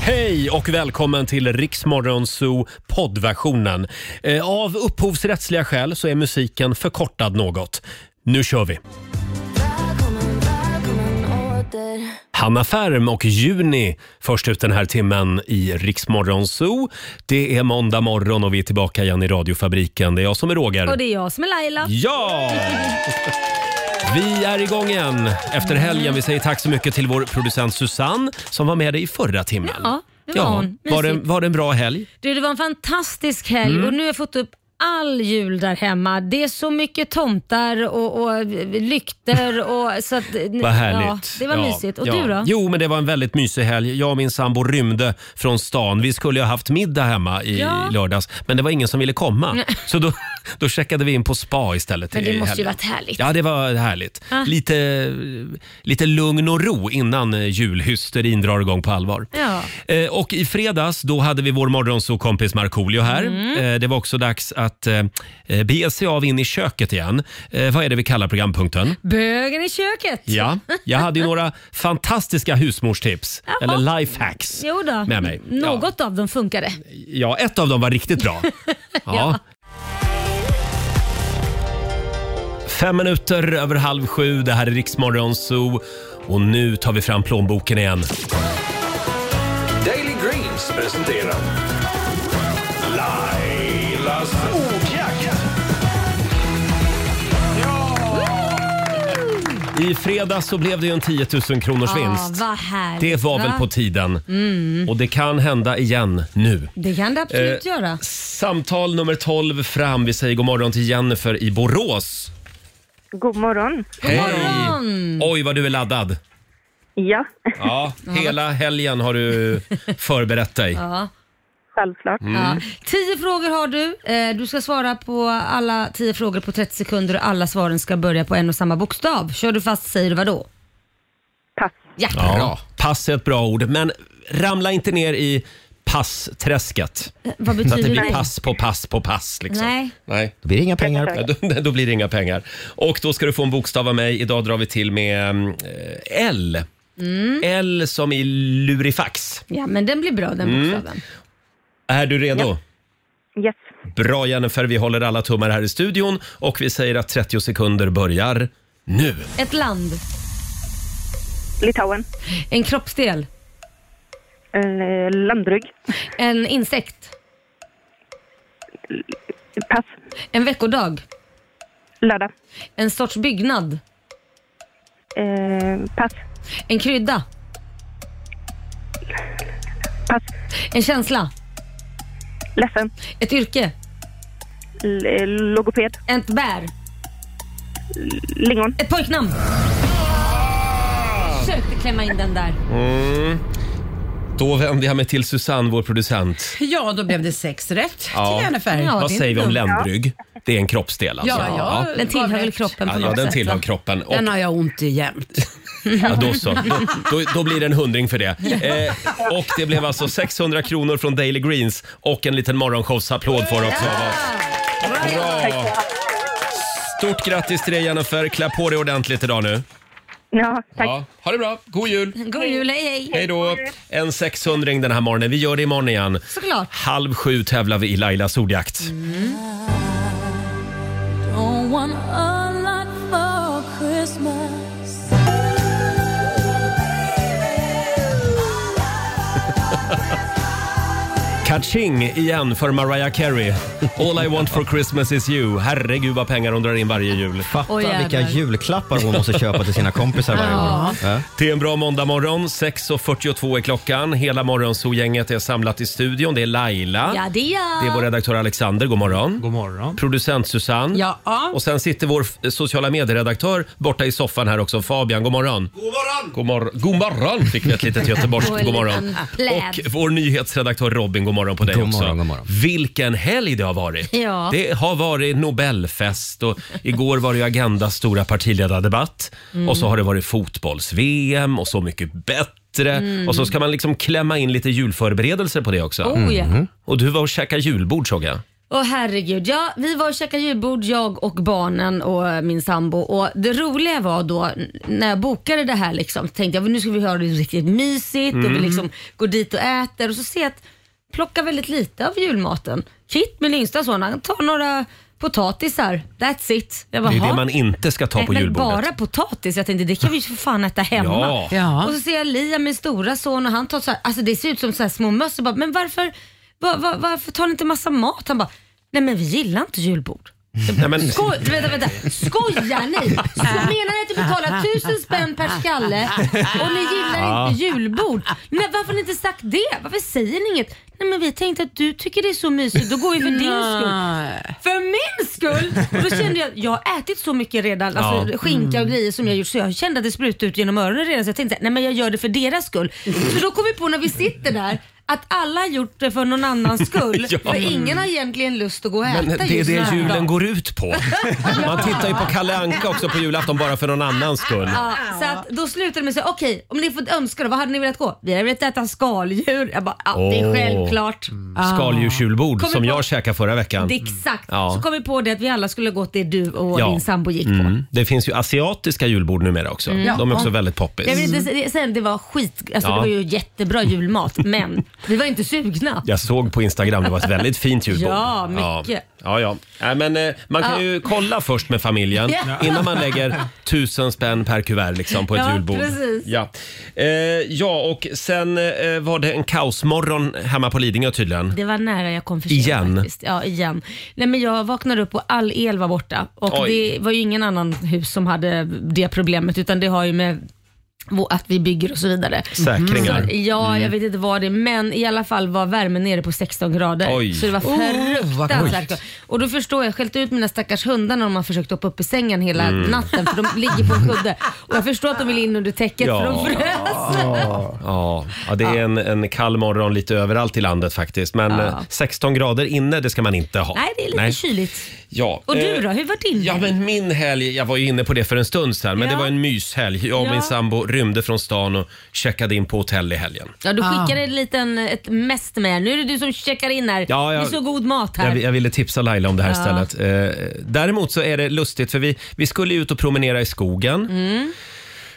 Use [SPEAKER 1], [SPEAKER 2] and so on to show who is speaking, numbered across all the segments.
[SPEAKER 1] Hej och välkommen till Riksmorgon Zoo poddversionen. Eh, Av upphovsrättsliga skäl så är musiken förkortad något. Nu kör vi! Hanna Färm och Juni först ut den här timmen i Riksmorgon Zoo. Det är måndag morgon och vi är tillbaka igen i radiofabriken. Det är jag som är Roger.
[SPEAKER 2] Och det är jag som är Laila.
[SPEAKER 1] Ja! Vi är igång igen efter helgen. Vi säger tack så mycket till vår producent Susanne som var med dig i förra timmen.
[SPEAKER 2] Ja, det var hon.
[SPEAKER 1] var, det,
[SPEAKER 2] Mysigt.
[SPEAKER 1] var det en bra helg?
[SPEAKER 2] Du, det var en fantastisk helg
[SPEAKER 1] Mm.
[SPEAKER 2] och nu har jag fått upp all jul där hemma. Det är så mycket tomtar och, och lykter. Och, så att,
[SPEAKER 1] Vad härligt.
[SPEAKER 2] Ja, det var
[SPEAKER 1] Ja,
[SPEAKER 2] mysigt. Och
[SPEAKER 1] ja.
[SPEAKER 2] du då?
[SPEAKER 1] Jo, men det var en väldigt mysig helg. Jag och min sambo rymde från stan. Vi skulle ju ha haft middag hemma i
[SPEAKER 2] Ja.
[SPEAKER 1] lördags, men det var ingen som ville komma.
[SPEAKER 2] Nej.
[SPEAKER 1] Så då, då checkade vi in på spa istället.
[SPEAKER 2] Men det
[SPEAKER 1] i
[SPEAKER 2] måste
[SPEAKER 1] helgen.
[SPEAKER 2] ju varit härligt.
[SPEAKER 1] Ja, det var härligt.
[SPEAKER 2] Ah.
[SPEAKER 1] Lite, lite lugn och ro innan eh, julhysterin drar igång på allvar.
[SPEAKER 2] Ja.
[SPEAKER 1] Eh, och i fredags då hade vi vår morgonsokompis Markoolio här.
[SPEAKER 3] Mm.
[SPEAKER 1] Eh, det var också dags att eh, bege sig av in i köket igen. Eh, vad är det vi kallar programpunkten?
[SPEAKER 2] Bögen i köket.
[SPEAKER 1] Ja, jag hade ju några fantastiska husmorstips,
[SPEAKER 2] Jaha.
[SPEAKER 1] eller lifehacks,
[SPEAKER 2] Jo då.
[SPEAKER 1] med mig. Ja,
[SPEAKER 2] Något av dem funkade.
[SPEAKER 1] ja, ett av dem var riktigt bra. Ja. Fem minuter över halv sju, det här är Riksmorgon Zoo och nu tar vi fram plånboken igen.
[SPEAKER 4] Daily Greens presenterar Lailas ordjakt.
[SPEAKER 1] I fredags så blev det ju en 10 000 kronors vinst.
[SPEAKER 2] Ah, vad härligt,
[SPEAKER 1] Det var väl
[SPEAKER 2] va?
[SPEAKER 1] på tiden.
[SPEAKER 2] Mm.
[SPEAKER 1] Och det kan hända igen nu.
[SPEAKER 2] Det kan det absolut
[SPEAKER 1] Eh,
[SPEAKER 2] göra.
[SPEAKER 1] Samtal nummer 12 fram. Vi säger god morgon till Jennifer i Borås.
[SPEAKER 5] God morgon.
[SPEAKER 1] Hej!
[SPEAKER 2] Mm.
[SPEAKER 1] Oj, vad du är laddad.
[SPEAKER 5] Ja,
[SPEAKER 1] Ja, hela helgen har du förberett dig.
[SPEAKER 2] Ja.
[SPEAKER 5] självklart.
[SPEAKER 1] Mm.
[SPEAKER 2] Ja. Tio frågor har du. Eh, Du ska svara på alla tio frågor på 30 sekunder och alla svaren ska börja på en och samma bokstav. Kör du fast säger du vad då? Pass. Ja.
[SPEAKER 1] Ja, pass är ett bra ord, men ramla inte ner i passträsket.
[SPEAKER 2] Eh, Vad
[SPEAKER 1] Så att
[SPEAKER 2] betyder
[SPEAKER 1] det blir
[SPEAKER 2] det?
[SPEAKER 1] pass på pass på pass. Liksom.
[SPEAKER 2] Nej.
[SPEAKER 1] Nej. Då blir det inga pengar. Då, då blir det inga pengar. Och då ska du få en bokstav av mig. Idag drar vi till med mm, eh, L.
[SPEAKER 2] Mm.
[SPEAKER 1] L som i lurifax.
[SPEAKER 2] Ja, men den blir bra den
[SPEAKER 1] Mm.
[SPEAKER 2] bokstaven.
[SPEAKER 1] Är du redo?
[SPEAKER 5] Yes.
[SPEAKER 1] Bra Jennifer, vi håller alla tummar här i studion och vi säger att 30 sekunder börjar nu.
[SPEAKER 2] Ett land.
[SPEAKER 5] Litauen.
[SPEAKER 2] En kroppsdel.
[SPEAKER 5] eh, Landrygg.
[SPEAKER 2] En insekt.
[SPEAKER 5] Pass.
[SPEAKER 2] En veckodag.
[SPEAKER 5] Lördag.
[SPEAKER 2] En sorts byggnad.
[SPEAKER 5] Eh, pass.
[SPEAKER 2] En krydda.
[SPEAKER 5] Pass.
[SPEAKER 2] En känsla.
[SPEAKER 5] Ledsen.
[SPEAKER 2] Ett yrke.
[SPEAKER 5] L- eh, logoped.
[SPEAKER 2] Ett bär.
[SPEAKER 5] Lingon.
[SPEAKER 2] Ett pojknamn. Försökte klämma in den där.
[SPEAKER 1] Mm. Då vänder jag mig till Susanne, vår producent.
[SPEAKER 6] Ja, då blev det sex rätt till Jennifer.
[SPEAKER 1] Vad säger vi om ländrygg? Det är en kroppsdel alltså.
[SPEAKER 6] Ja, ja. Den tillhör väl kroppen
[SPEAKER 1] Ja, ja, den tillhör kroppen. Och,
[SPEAKER 6] Den har jag ont i jämt.
[SPEAKER 1] ja, då så. Då, då, då blir det en hundring för det. Eh, och det blev alltså 600 kronor från Daily Greens och en liten morgonshowsapplåd får du också av oss. Bra! Stort grattis till dig Jennifer. Klä på dig ordentligt idag nu.
[SPEAKER 5] Ja, tack.
[SPEAKER 1] Ja, ha det bra. God jul!
[SPEAKER 2] God jul, hej hej.
[SPEAKER 1] Hej då! En 600 den här morgonen. Vi gör det imorgon igen.
[SPEAKER 2] Såklart.
[SPEAKER 1] Halv sju tävlar vi i Lailas ordjakt.
[SPEAKER 7] Don't want a lot for Christmas.
[SPEAKER 1] Kaching igen för Mariah Carey. All I want for Christmas is you. Herregud vad pengar hon drar in varje jul.
[SPEAKER 8] Fatta vilka julklappar hon måste köpa till sina kompisar varje år. Ja.
[SPEAKER 1] Det är en bra måndagmorgon. 6.42 är klockan. Hela morgonzoo-gänget är samlat i studion. Det är Laila.
[SPEAKER 2] Ja, det är jag.
[SPEAKER 1] Det är vår redaktör Alexander. God morgon. God morgon. Producent Susanne.
[SPEAKER 6] Ja.
[SPEAKER 1] Och sen sitter vår f- sociala medieredaktör borta i soffan här också, Fabian. God morgon. God morgon. God, mor- god morgon fick vi ett litet
[SPEAKER 2] Och
[SPEAKER 1] göteborgskt
[SPEAKER 2] en
[SPEAKER 1] god morgon.
[SPEAKER 2] liten pläd.
[SPEAKER 1] Och vår nyhetsredaktör Robin, god morgon på dig
[SPEAKER 8] God
[SPEAKER 1] också.
[SPEAKER 8] morgon, god morgon.
[SPEAKER 1] Vilken helg det har varit.
[SPEAKER 2] Ja.
[SPEAKER 1] Det har varit Nobelfest och igår var det ju Agendas stora partiledardebatt.
[SPEAKER 2] Mm.
[SPEAKER 1] Och så har det varit fotbolls-VM och Så mycket bättre.
[SPEAKER 2] Mm.
[SPEAKER 1] Och så ska man liksom klämma in lite julförberedelser på det också.
[SPEAKER 2] Oh, ja. Mhm.
[SPEAKER 1] Och du var och käkade julbord såg jag.
[SPEAKER 2] Åh herregud. Ja, vi var och käkade julbord, jag och barnen och eh, min sambo. Och det roliga var då n- när jag bokade det här liksom, tänkte jag nu ska vi ha det riktigt mysigt
[SPEAKER 1] Mm.
[SPEAKER 2] och vi liksom går dit och äter och så ser jag att plockar väldigt lite av julmaten. Kit, min yngsta son, han tar några potatisar. That's it. Jag bara,
[SPEAKER 1] Det är ju det
[SPEAKER 2] "Ha?"
[SPEAKER 1] man inte ska ta
[SPEAKER 2] Nej,
[SPEAKER 1] på
[SPEAKER 2] men
[SPEAKER 1] julbordet.
[SPEAKER 2] Bara potatis. Jag tänkte det kan vi ju för fan äta hemma.
[SPEAKER 1] Ja.
[SPEAKER 6] Ja.
[SPEAKER 2] Och så ser jag Liam, min stora son, och han tar så här, alltså det ser ut som så här små möss. Jag bara, men varför, va, va, varför tar ni inte massa mat? Han bara, nej men vi gillar inte julbord.
[SPEAKER 1] Nej, men,
[SPEAKER 2] Sko vänta, vänta. Skojar ni? Så menar ni att ni betalar tusen spänn per skalle och ni
[SPEAKER 1] Ah.
[SPEAKER 2] gillar inte julbord? Nej, varför har ni inte sagt det? Varför säger ni inget? Nej men vi tänkte att du tycker det är så mysigt, då går vi för din skull. För min skull! Och då kände jag, jag har ätit så mycket redan, alltså
[SPEAKER 1] Ja. Mm.
[SPEAKER 2] skinka och grejer som jag gjort så jag kände att det sprutade ut genom öronen redan så jag tänkte nej men jag gör det för deras skull. Så då kom vi på när vi sitter där att alla har gjort det för någon annans skull.
[SPEAKER 1] Ja.
[SPEAKER 2] För ingen har egentligen lust att gå och äta
[SPEAKER 1] men det är
[SPEAKER 2] just den
[SPEAKER 1] det
[SPEAKER 2] här dagen.
[SPEAKER 1] julen går ut på. Man tittar ju på Kalle Anka också på julafton bara för någon annans skull.
[SPEAKER 2] Ja, så att då slutade det med att okej, om ni fått önska då, vad hade ni velat gå? Vi hade velat äta skaldjur. Jag bara, ja, det
[SPEAKER 1] Åh.
[SPEAKER 2] är självklart.
[SPEAKER 1] Skaldjursjulbord
[SPEAKER 2] Kommer
[SPEAKER 1] som
[SPEAKER 2] på-
[SPEAKER 1] jag käkade förra veckan.
[SPEAKER 2] Det är exakt.
[SPEAKER 1] Mm. Ja.
[SPEAKER 2] Så kom vi på det att vi alla skulle gått det du och
[SPEAKER 1] Ja.
[SPEAKER 2] din sambo gick på.
[SPEAKER 1] Mm. Det finns ju asiatiska julbord numera också. De är också väldigt poppis.
[SPEAKER 2] Mm. Jag vill inte se- säga att det var skit, alltså
[SPEAKER 1] Ja.
[SPEAKER 2] det var ju jättebra julmat, men vi var inte sugna.
[SPEAKER 1] Jag såg på Instagram, det var ett väldigt fint julbord.
[SPEAKER 2] Ja, mycket.
[SPEAKER 1] Ja, ja. ja. Nej, men, eh, man kan
[SPEAKER 2] Ja.
[SPEAKER 1] ju kolla först med familjen
[SPEAKER 2] Ja.
[SPEAKER 1] innan man lägger tusen spänn per kuvert liksom, på ett
[SPEAKER 2] Ja,
[SPEAKER 1] julbord.
[SPEAKER 2] precis.
[SPEAKER 1] Ja. Eh, ja, och sen eh, var det en kaosmorgon hemma på Lidingö tydligen.
[SPEAKER 2] Det var nära jag kom för sent
[SPEAKER 1] Igen?
[SPEAKER 2] faktiskt. Ja, igen. Nej, men jag vaknade upp och all el var borta. Och
[SPEAKER 1] Oj.
[SPEAKER 2] Det var ju ingen annan hus som hade det problemet utan det har ju med vå- att vi bygger och så vidare.
[SPEAKER 1] Säkringar. Mm.
[SPEAKER 2] Så, ja, jag vet inte vad det är, men i alla fall var värmen nere på 16 grader.
[SPEAKER 1] Oj.
[SPEAKER 2] Så det var fruktansvärt. och då förstår jag, skällt ut mina stackars hundar när de har försökt hoppa upp i sängen hela
[SPEAKER 1] Mm.
[SPEAKER 2] natten för de ligger på en kudde. Och jag förstår att de vill in under täcket
[SPEAKER 1] Ja.
[SPEAKER 2] för de frös.
[SPEAKER 1] Ja, ja, det är En, en kall morgon lite överallt i landet faktiskt. Men eh, 16 grader inne, det ska man inte ha.
[SPEAKER 2] Nej, det är lite kyligt.
[SPEAKER 1] Ja.
[SPEAKER 2] Och du
[SPEAKER 1] eh,
[SPEAKER 2] då, hur var din
[SPEAKER 1] Ja,
[SPEAKER 2] helg?
[SPEAKER 1] men min helg, jag var ju inne på det för en stund sedan, men
[SPEAKER 2] Ja.
[SPEAKER 1] det var en myshelg. Jag och min
[SPEAKER 2] Ja.
[SPEAKER 1] sambo rymde från stan och checkade in på hotell i helgen.
[SPEAKER 2] Ja, du
[SPEAKER 1] Ah.
[SPEAKER 2] skickade en liten, ett mess till mig. här. Nu är det du som checkar in här.
[SPEAKER 1] Ja, jag-
[SPEAKER 2] Det är så god mat här.
[SPEAKER 1] Jag, jag ville tipsa Laila om det här stället. Eh, däremot så är det lustigt för vi, vi skulle ju ut och promenera i skogen.
[SPEAKER 2] Mm.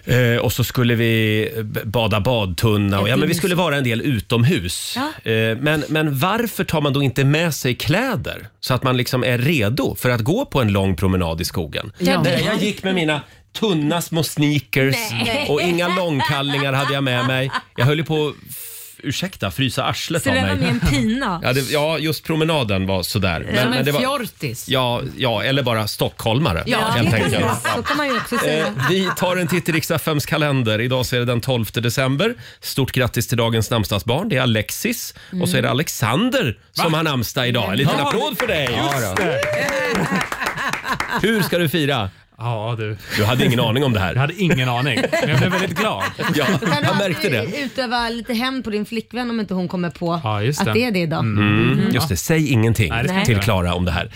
[SPEAKER 1] Eh, och så skulle vi b- bada badtunna och ja, men vi skulle vara en del utomhus.
[SPEAKER 2] Ja.
[SPEAKER 1] Eh, men, men varför tar man då inte med sig kläder så att man liksom är redo för att gå på en lång promenad i skogen?
[SPEAKER 2] Ja.
[SPEAKER 1] Nej, jag gick med mina tunna små sneakers
[SPEAKER 2] Nej.
[SPEAKER 1] och inga långkallingar hade jag med mig. Jag höll ju på att f- ursäkta, frysa arslet
[SPEAKER 2] så
[SPEAKER 1] av
[SPEAKER 2] det
[SPEAKER 1] mig.
[SPEAKER 2] var med en pina.
[SPEAKER 1] Ja, det, ja, just promenaden var sådär. Men,
[SPEAKER 6] Som
[SPEAKER 1] men det
[SPEAKER 6] en
[SPEAKER 1] var,
[SPEAKER 6] fjortis.
[SPEAKER 1] ja, ja, eller bara stockholmare helt enkelt.
[SPEAKER 2] Så kan man ju också
[SPEAKER 1] Eh,
[SPEAKER 2] säga.
[SPEAKER 1] Vi tar en titt i riks kalender. Idag så är det den 12 december. Stort grattis till dagens namnsdagsbarn. Det är Alexis och så är det Alexander som har namnsdag idag. En liten
[SPEAKER 3] Mm. Ja,
[SPEAKER 1] applåd för dig!
[SPEAKER 3] Just det.
[SPEAKER 1] Hur ska du fira?
[SPEAKER 3] Ja, du.
[SPEAKER 1] Du hade ingen aning om det
[SPEAKER 3] Jag
[SPEAKER 1] här.
[SPEAKER 3] hade ingen aning, men jag blev väldigt glad.
[SPEAKER 1] Ja,
[SPEAKER 2] Kan du
[SPEAKER 1] jag märkte det.
[SPEAKER 2] alltid utöva lite hämnd på din flickvän om inte hon kommer på
[SPEAKER 3] Ja, just det. Mm.
[SPEAKER 2] att det är det Mm. idag?
[SPEAKER 1] Mm. Just det, säg ingenting
[SPEAKER 3] Nej, det ska jag
[SPEAKER 1] till
[SPEAKER 3] inte
[SPEAKER 1] Klara om det här.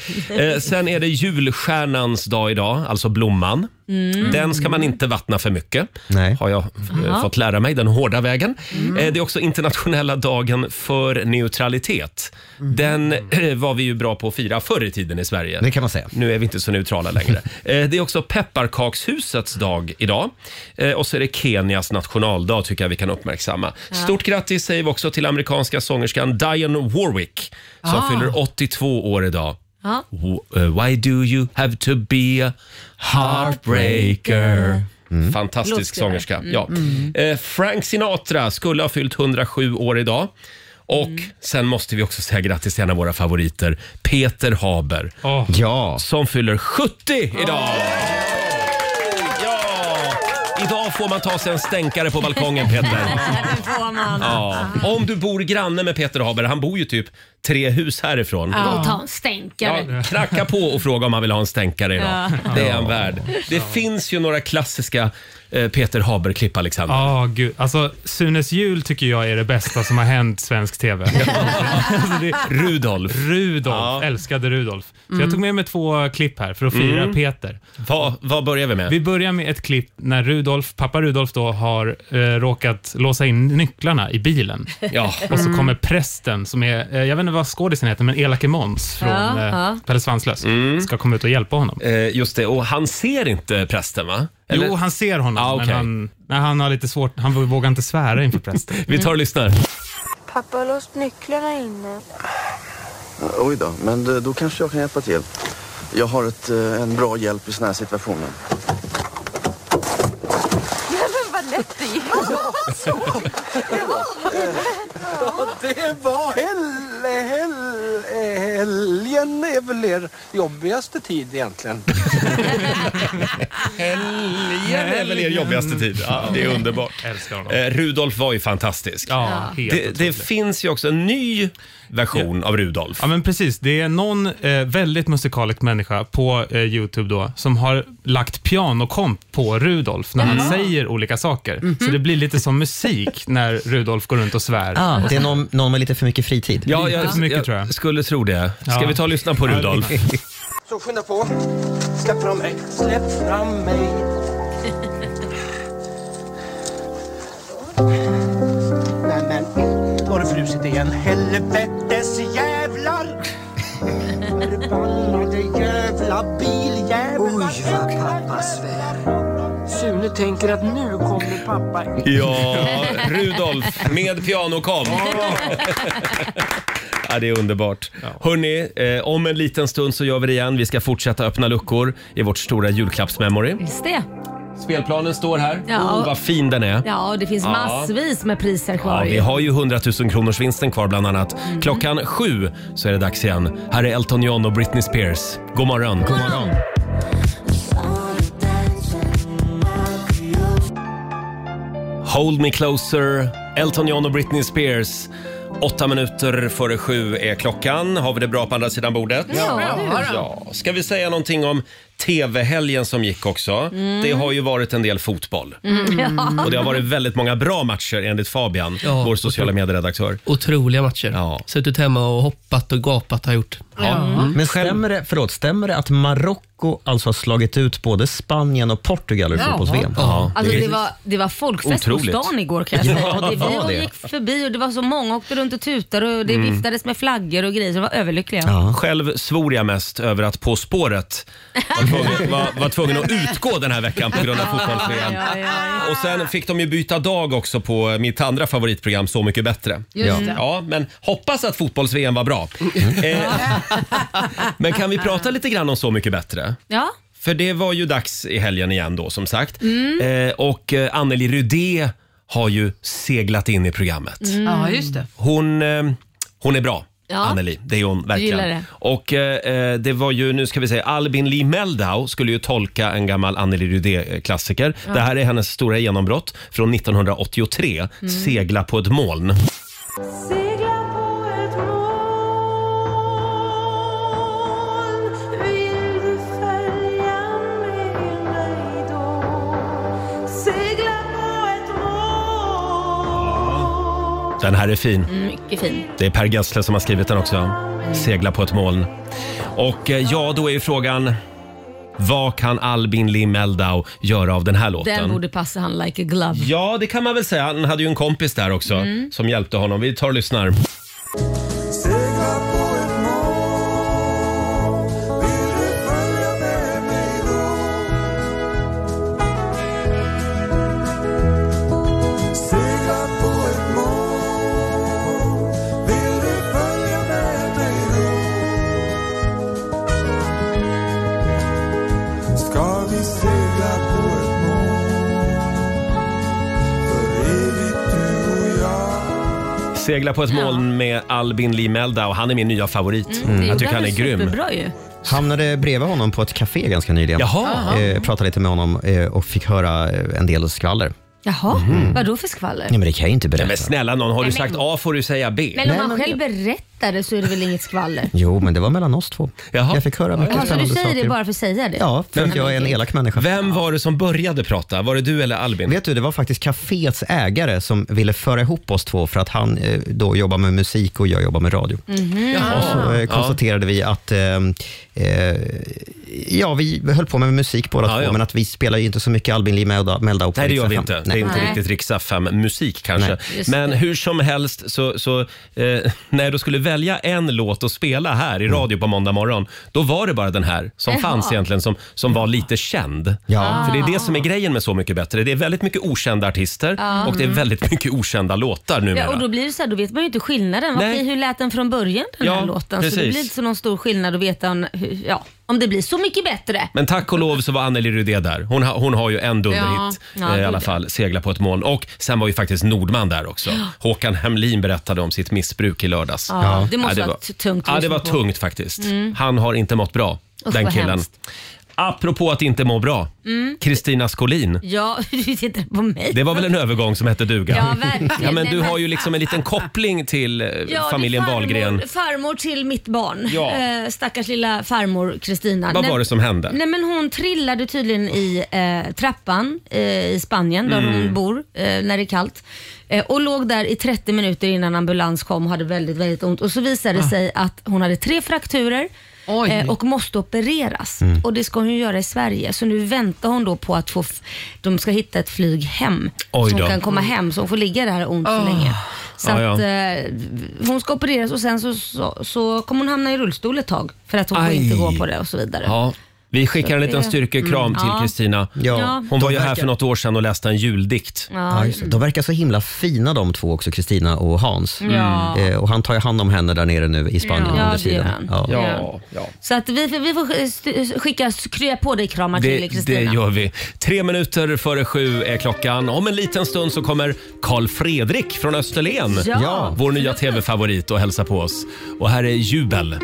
[SPEAKER 1] Eh, sen är det julstjärnans dag idag, alltså blomman.
[SPEAKER 2] Mm.
[SPEAKER 1] Den ska man inte vattna för mycket,
[SPEAKER 8] Nej.
[SPEAKER 1] har jag eh, fått lära mig den hårda vägen.
[SPEAKER 2] Mm.
[SPEAKER 1] Eh, det är också internationella dagen för neutralitet. Den eh, var vi ju bra på att fira förr i tiden i Sverige.
[SPEAKER 8] Det kan man säga.
[SPEAKER 1] Nu är vi inte så neutrala längre. Eh, Det är också pepparkakshusets dag idag. Eh, Och så är det Kenias nationaldag tycker jag vi kan uppmärksamma. Stort grattis säger vi också till amerikanska sångerskan Dionne Warwick som
[SPEAKER 8] Ah.
[SPEAKER 1] fyller 82 år idag.
[SPEAKER 2] Ja.
[SPEAKER 1] W- eh, Why do you have to be a heartbreaker? Fantastisk
[SPEAKER 2] Låtskrivare.
[SPEAKER 1] sångerska. Ja. Eh, Frank Sinatra skulle ha fyllt 107 år idag. Och sen måste vi också säga grattis till en av våra favoriter, Peter Haber
[SPEAKER 3] Åh,
[SPEAKER 8] Ja.
[SPEAKER 1] som fyller 70 idag. Ja! Idag får man ta sig en stänkare på balkongen Peter.
[SPEAKER 2] Det får man.
[SPEAKER 1] Ja. Om du bor granne med Peter Haber, han bor ju typ tre hus härifrån.
[SPEAKER 2] Gå och ta en stänkare.
[SPEAKER 1] Ja, knacka på och fråga om han vill ha en stänkare idag. Det är han värd. Det finns ju några klassiska eh, Peter Haberklipp, Alexander.
[SPEAKER 3] Ja, gud. Alltså, Sunes jul tycker jag är det bästa som har hänt svensk TV. alltså, det,
[SPEAKER 1] Rudolf,
[SPEAKER 3] Rudolf,
[SPEAKER 1] Ja.
[SPEAKER 3] älskade Rudolf. Så
[SPEAKER 2] Mm.
[SPEAKER 3] jag tog med mig två klipp här för att fira
[SPEAKER 1] Mm.
[SPEAKER 3] Peter.
[SPEAKER 1] vad, vad börjar vi med?
[SPEAKER 3] Vi börjar med ett klipp när Rudolf, pappa Rudolf då har eh, råkat låsa in nycklarna i bilen.
[SPEAKER 1] Ja.
[SPEAKER 3] Och
[SPEAKER 2] Mm.
[SPEAKER 3] så kommer prästen som är, eh, jag vet inte vad skådisen heter, men Elake Måns från
[SPEAKER 2] Ja,
[SPEAKER 3] eh,
[SPEAKER 2] ja.
[SPEAKER 3] Pelle Svanslös ska komma ut och hjälpa honom.
[SPEAKER 1] Mm. Eh, just det, och han ser inte prästen va? Eller?
[SPEAKER 3] Jo, han ser honom,
[SPEAKER 1] Ah, okej.
[SPEAKER 3] men han, nej, han har lite svårt, han vågar inte svära inför prästen.
[SPEAKER 1] Vi tar och lyssnar.
[SPEAKER 9] Pappa har låst nycklarna inne.
[SPEAKER 10] Oj då, men eh, då kanske jag kan hjälpa till. Jag har ett, eh, en bra hjälp i såna här situationer.
[SPEAKER 4] Det var hel, hel, helgen är väl er jobbigaste tid egentligen.
[SPEAKER 1] Helgen är väl er jobbigaste tid. Ja, det är underbart.
[SPEAKER 3] Älskar honom.
[SPEAKER 1] Eh, Rudolf var ju fantastisk.
[SPEAKER 3] Ja, helt
[SPEAKER 1] Det, det
[SPEAKER 3] otroligt.
[SPEAKER 1] finns ju också en ny version av Rudolf.
[SPEAKER 3] Ja, men precis. Det är någon eh, väldigt musikalisk människa på eh, Youtube då, som har lagt pianokomp på Rudolf när han säger olika saker.
[SPEAKER 1] Mhm.
[SPEAKER 3] Så det blir lite som musik när Rudolf går runt och svär.
[SPEAKER 8] Ah, det är någon, någon med lite för mycket fritid.
[SPEAKER 1] Ja,
[SPEAKER 3] Lite för mycket,
[SPEAKER 1] jag
[SPEAKER 3] tror jag.
[SPEAKER 1] skulle tro det. Ska
[SPEAKER 3] Ja.
[SPEAKER 1] vi ta och lyssna på Rudolf?
[SPEAKER 4] Så skynda på. Släpp fram mig. Släpp fram mig. Nej men, då har det frusit igen. Helvetes jävlar! Förbannade jävla biljävlar. Oj vad pappa svär. Sune tänker att nu kommer pappa.
[SPEAKER 1] Ja, Rudolf med pianokom. Ja, det är underbart. Hörni, eh, om en liten stund så gör vi det igen. Vi ska fortsätta öppna luckor i vårt stora julklappsmemory.
[SPEAKER 2] Visst det.
[SPEAKER 1] Spelplanen står här.
[SPEAKER 2] Ja.
[SPEAKER 1] Oh, vad fin den är.
[SPEAKER 2] Ja, och det finns
[SPEAKER 1] Ja.
[SPEAKER 2] massvis med priser
[SPEAKER 1] Ja,
[SPEAKER 2] kvar.
[SPEAKER 1] vi
[SPEAKER 2] ju.
[SPEAKER 1] har ju 100 000 kronors vinsten kvar bland annat. Klockan sju så är det dags igen. Här är Elton John och Britney Spears. God morgon. God morgon. Hold me closer, Elton John och Britney Spears. Åtta minuter före sju är klockan. Har vi det bra på andra sidan bordet?
[SPEAKER 2] Ja, du.
[SPEAKER 1] Ja. Ska vi säga någonting om TV-helgen som gick också? Det har ju varit en del fotboll. Och det har varit väldigt många bra matcher enligt Fabian,
[SPEAKER 11] Ja,
[SPEAKER 1] vår sociala medieredaktör.
[SPEAKER 11] Otroliga matcher.
[SPEAKER 1] Ja.
[SPEAKER 11] Suttit hemma och hoppat och gapat har jag gjort.
[SPEAKER 2] Mm.
[SPEAKER 8] Men stämmer det, förlåt, stämmer det att Marocko alltså har slagit ut både Spanien och Portugal ur
[SPEAKER 6] Jaha.
[SPEAKER 8] fotbolls-VM?
[SPEAKER 11] Ja.
[SPEAKER 2] Alltså det var, det var folkfest
[SPEAKER 1] Otroligt.
[SPEAKER 2] på stan igår kan jag säga.
[SPEAKER 8] Ja,
[SPEAKER 2] och det, vi
[SPEAKER 8] var det? Mm.
[SPEAKER 2] gick förbi och det var så många åkte runt och tutade och det viftades med flaggor och grejer så det var överlyckliga.
[SPEAKER 1] Själv svor jag mest över att På spåret var tvungen, var, var tvungen att utgå den här veckan på grund av fotbolls
[SPEAKER 2] Ja, ja, ja.
[SPEAKER 1] Och sen fick de ju byta dag också på mitt andra favoritprogram Så mycket bättre.
[SPEAKER 6] Just det.
[SPEAKER 1] Ja, men hoppas att fotbolls-VM var bra.
[SPEAKER 2] Mm.
[SPEAKER 1] Eh, men kan vi prata lite grann om Så mycket bättre?
[SPEAKER 2] ja.
[SPEAKER 1] För det var ju dags i helgen igen då som sagt.
[SPEAKER 2] Mm.
[SPEAKER 1] Eh, och eh, Anneli Rudé har ju seglat in i programmet.
[SPEAKER 6] Mm. Ja, just det.
[SPEAKER 1] Hon, eh, hon är bra.
[SPEAKER 2] Mm. Ja.
[SPEAKER 1] Anneli, det är hon verkligen.
[SPEAKER 2] gillar det.
[SPEAKER 1] Och eh, eh, det var ju, nu ska vi säga, Albin Lee Meldau skulle ju tolka en gammal Anneli Rudé-klassiker. Det här är hennes stora genombrott från 1983,
[SPEAKER 2] Mm.
[SPEAKER 1] Segla på ett moln.
[SPEAKER 9] Segla på ett moln Vill du följa med mig då? Segla på ett moln
[SPEAKER 1] Den här är fin.
[SPEAKER 2] Mycket fin.
[SPEAKER 1] Det är Per Gessle som har skrivit den också. Segla på ett moln. Och eh, ja, då är ju frågan, vad kan Albin Lee Meldau göra av den här låten?
[SPEAKER 2] Den borde passa han like a
[SPEAKER 8] Mm.
[SPEAKER 2] glove.
[SPEAKER 1] Ja, det kan man väl säga. Han hade ju en kompis där också som hjälpte honom. Vi tar och lyssnar.
[SPEAKER 9] Segla på ett moln Vill du följa med mig då? Segla på ett moln Vill du följa med mig då? Ska vi segla på ett moln För evigt du och jag
[SPEAKER 1] Segla på ett moln med Albin Lee Meldau. Han är min nya
[SPEAKER 8] Mm,
[SPEAKER 1] favorit.
[SPEAKER 2] Mm. Det
[SPEAKER 1] Jag
[SPEAKER 2] gjorde
[SPEAKER 1] tycker han är
[SPEAKER 2] väl
[SPEAKER 1] grym.
[SPEAKER 2] Superbra ju.
[SPEAKER 8] Hamnade bredvid honom på ett café ganska nyligen.
[SPEAKER 1] Jaha.
[SPEAKER 8] Eh, pratade lite med honom eh, och fick höra eh, en del skvaller.
[SPEAKER 2] Jaha,
[SPEAKER 8] Mhm.
[SPEAKER 2] vadå för skvaller?
[SPEAKER 8] Nej, men det kan jag inte berätta.
[SPEAKER 1] Men snälla någon, har du sagt A får du säga B.
[SPEAKER 2] Men om han själv berättar berättade så är det väl inget skvaller?
[SPEAKER 8] Jo, men det var mellan oss två. Jag fick höra mycket
[SPEAKER 2] Jaha, så du
[SPEAKER 8] spännande
[SPEAKER 2] säger
[SPEAKER 8] saker.
[SPEAKER 2] det bara för att säga det?
[SPEAKER 8] Ja, för att jag är en elak människa.
[SPEAKER 1] Vem var det som började prata? Var det du eller Albin?
[SPEAKER 8] Vet du, det var faktiskt kaféets ägare som ville föra ihop oss två för att han eh, då jobbar med musik och jag jobbar med radio.
[SPEAKER 2] Mhm.
[SPEAKER 8] Och så eh, konstaterade vi att eh, eh, ja, vi höll på med musik båda två, men att vi spelar ju inte så mycket Albin Lee Melda, Melda och
[SPEAKER 1] Nej, det gör vi inte.
[SPEAKER 8] Riksa fem.
[SPEAKER 1] Det är inte
[SPEAKER 8] Nej.
[SPEAKER 1] riktigt Riksa 5 musik kanske.
[SPEAKER 8] Nej. Just
[SPEAKER 1] Men
[SPEAKER 8] det.
[SPEAKER 1] hur som helst, så, så, eh, när du skulle välja en låt att spela här i radio på måndag morgon, då var det bara den här som
[SPEAKER 2] Jaha.
[SPEAKER 1] fanns egentligen, som, som var lite känd.
[SPEAKER 2] Ja.
[SPEAKER 1] För det är det som är grejen med Så mycket bättre. Det är väldigt mycket okända artister
[SPEAKER 2] Ja.
[SPEAKER 1] och det är väldigt mycket okända låtar numera.
[SPEAKER 2] Ja, och då blir det så här, då vet man ju inte skillnaden. Okej, hur lät den från början den
[SPEAKER 1] Ja,
[SPEAKER 2] här låten? Så det
[SPEAKER 1] precis.
[SPEAKER 2] blir inte så någon stor skillnad att veta om, hur- ja, om det blir så mycket bättre.
[SPEAKER 1] Men tack och lov så var Anneli Rydé där. Hon, ha, hon har ju en dunderhit
[SPEAKER 2] Ja,
[SPEAKER 1] eh, i
[SPEAKER 2] ja,
[SPEAKER 1] alla
[SPEAKER 2] det-
[SPEAKER 1] fall, Segla på ett moln. Och sen var ju faktiskt Nordman där också. Håkan Hemlin berättade om sitt missbruk i lördags.
[SPEAKER 2] Ja, det måste ha varit tungt att
[SPEAKER 1] Ja, det
[SPEAKER 2] lyssna
[SPEAKER 1] var
[SPEAKER 2] på.
[SPEAKER 1] tungt faktiskt.
[SPEAKER 2] Mm.
[SPEAKER 1] Han har inte mått bra,
[SPEAKER 2] Usch,
[SPEAKER 1] den
[SPEAKER 2] vad
[SPEAKER 1] killen.
[SPEAKER 2] hemskt.
[SPEAKER 1] Apropå att inte må bra,
[SPEAKER 2] Mm.
[SPEAKER 1] Kristina Skolin.
[SPEAKER 2] Ja, du tittar på mig.
[SPEAKER 1] Det var väl en övergång som hette duga?
[SPEAKER 2] Ja, verkligen.
[SPEAKER 1] Ja, men
[SPEAKER 2] Nej,
[SPEAKER 1] du
[SPEAKER 2] men-
[SPEAKER 1] har ju liksom en liten koppling till eh,
[SPEAKER 2] Ja, det är
[SPEAKER 1] familjen
[SPEAKER 2] farmor,
[SPEAKER 1] Wahlgren.
[SPEAKER 2] Farmor till mitt barn.
[SPEAKER 1] Ja.
[SPEAKER 2] Eh, stackars lilla farmor Kristina.
[SPEAKER 1] Vad
[SPEAKER 2] Nej-
[SPEAKER 1] var det som hände?
[SPEAKER 2] Nej, men hon trillade tydligen i eh, trappan eh, i Spanien där
[SPEAKER 1] Mm.
[SPEAKER 2] hon bor eh, när det är kallt. Eh, och låg där i 30 minuter innan ambulans kom och hade väldigt, väldigt ont. Och så visade det
[SPEAKER 6] Ah.
[SPEAKER 2] sig att hon hade tre frakturer.
[SPEAKER 6] Oj.
[SPEAKER 2] eh, Och måste opereras.
[SPEAKER 6] Mm.
[SPEAKER 2] Och det ska hon ju göra i Sverige. Så nu väntar hon då på att få f- de ska hitta ett flyg hem.
[SPEAKER 1] Oj
[SPEAKER 2] så hon
[SPEAKER 1] då.
[SPEAKER 2] kan komma hem. Så hon får ligga där och ont så
[SPEAKER 6] Ah.
[SPEAKER 2] länge. Så
[SPEAKER 1] Ja, ja.
[SPEAKER 2] att, eh, hon ska opereras och sen så, så, så kommer hon hamna i rullstol ett tag. För att hon får
[SPEAKER 1] Aj.
[SPEAKER 2] inte gå på det och så vidare.
[SPEAKER 1] Ja. Vi skickar en
[SPEAKER 2] Så
[SPEAKER 1] liten
[SPEAKER 2] det-
[SPEAKER 1] styrkekram
[SPEAKER 2] Mm.
[SPEAKER 1] till
[SPEAKER 2] Ja.
[SPEAKER 1] Kristina.
[SPEAKER 2] Ja.
[SPEAKER 1] Hon var ju
[SPEAKER 8] De
[SPEAKER 1] här
[SPEAKER 8] verkar-
[SPEAKER 1] för något år sedan och läste en juldikt.
[SPEAKER 2] Ja.
[SPEAKER 8] just det. De verkar så himla fina de två också, Kristina och Hans.
[SPEAKER 2] Ja. Mm.
[SPEAKER 8] Eh, och han tar ju hand om henne där nere nu i Spanien
[SPEAKER 2] Ja,
[SPEAKER 8] under
[SPEAKER 2] det gör
[SPEAKER 8] tiden.
[SPEAKER 2] han. Ja. Så att vi, vi får st- skicka krya på dig kramar till
[SPEAKER 1] Det, det
[SPEAKER 2] Kristina.
[SPEAKER 1] gör vi. Tre minuter före sju är klockan. Om en liten stund så kommer Karl Fredrik från Österlen,
[SPEAKER 9] Ja. Ja.
[SPEAKER 1] vår nya tv-favorit, och hälsa på oss. Och här är Jubel.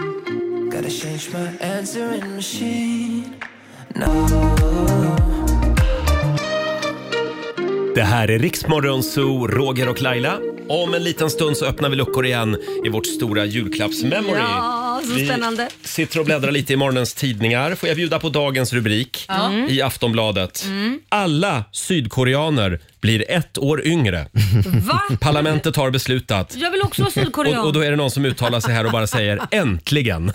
[SPEAKER 9] Gotta change my answering machine. No.
[SPEAKER 1] Det här är Riksmorgon Zoo, Roger och Laila. Om en liten stund så öppnar vi luckor igen i vårt stora julklappsmemory.
[SPEAKER 2] Ja, så
[SPEAKER 1] Vi
[SPEAKER 2] spännande.
[SPEAKER 1] sitter och bläddrar lite i morgonens tidningar. Får jag bjuda på dagens rubrik
[SPEAKER 2] Ja.
[SPEAKER 1] i Aftonbladet?
[SPEAKER 2] Mm.
[SPEAKER 1] Alla sydkoreaner blir ett år yngre.
[SPEAKER 2] Va?
[SPEAKER 1] Parlamentet har beslutat.
[SPEAKER 2] Jag vill också vara sydkorean.
[SPEAKER 1] Och, och då är det någon som uttalar sig här och bara säger äntligen.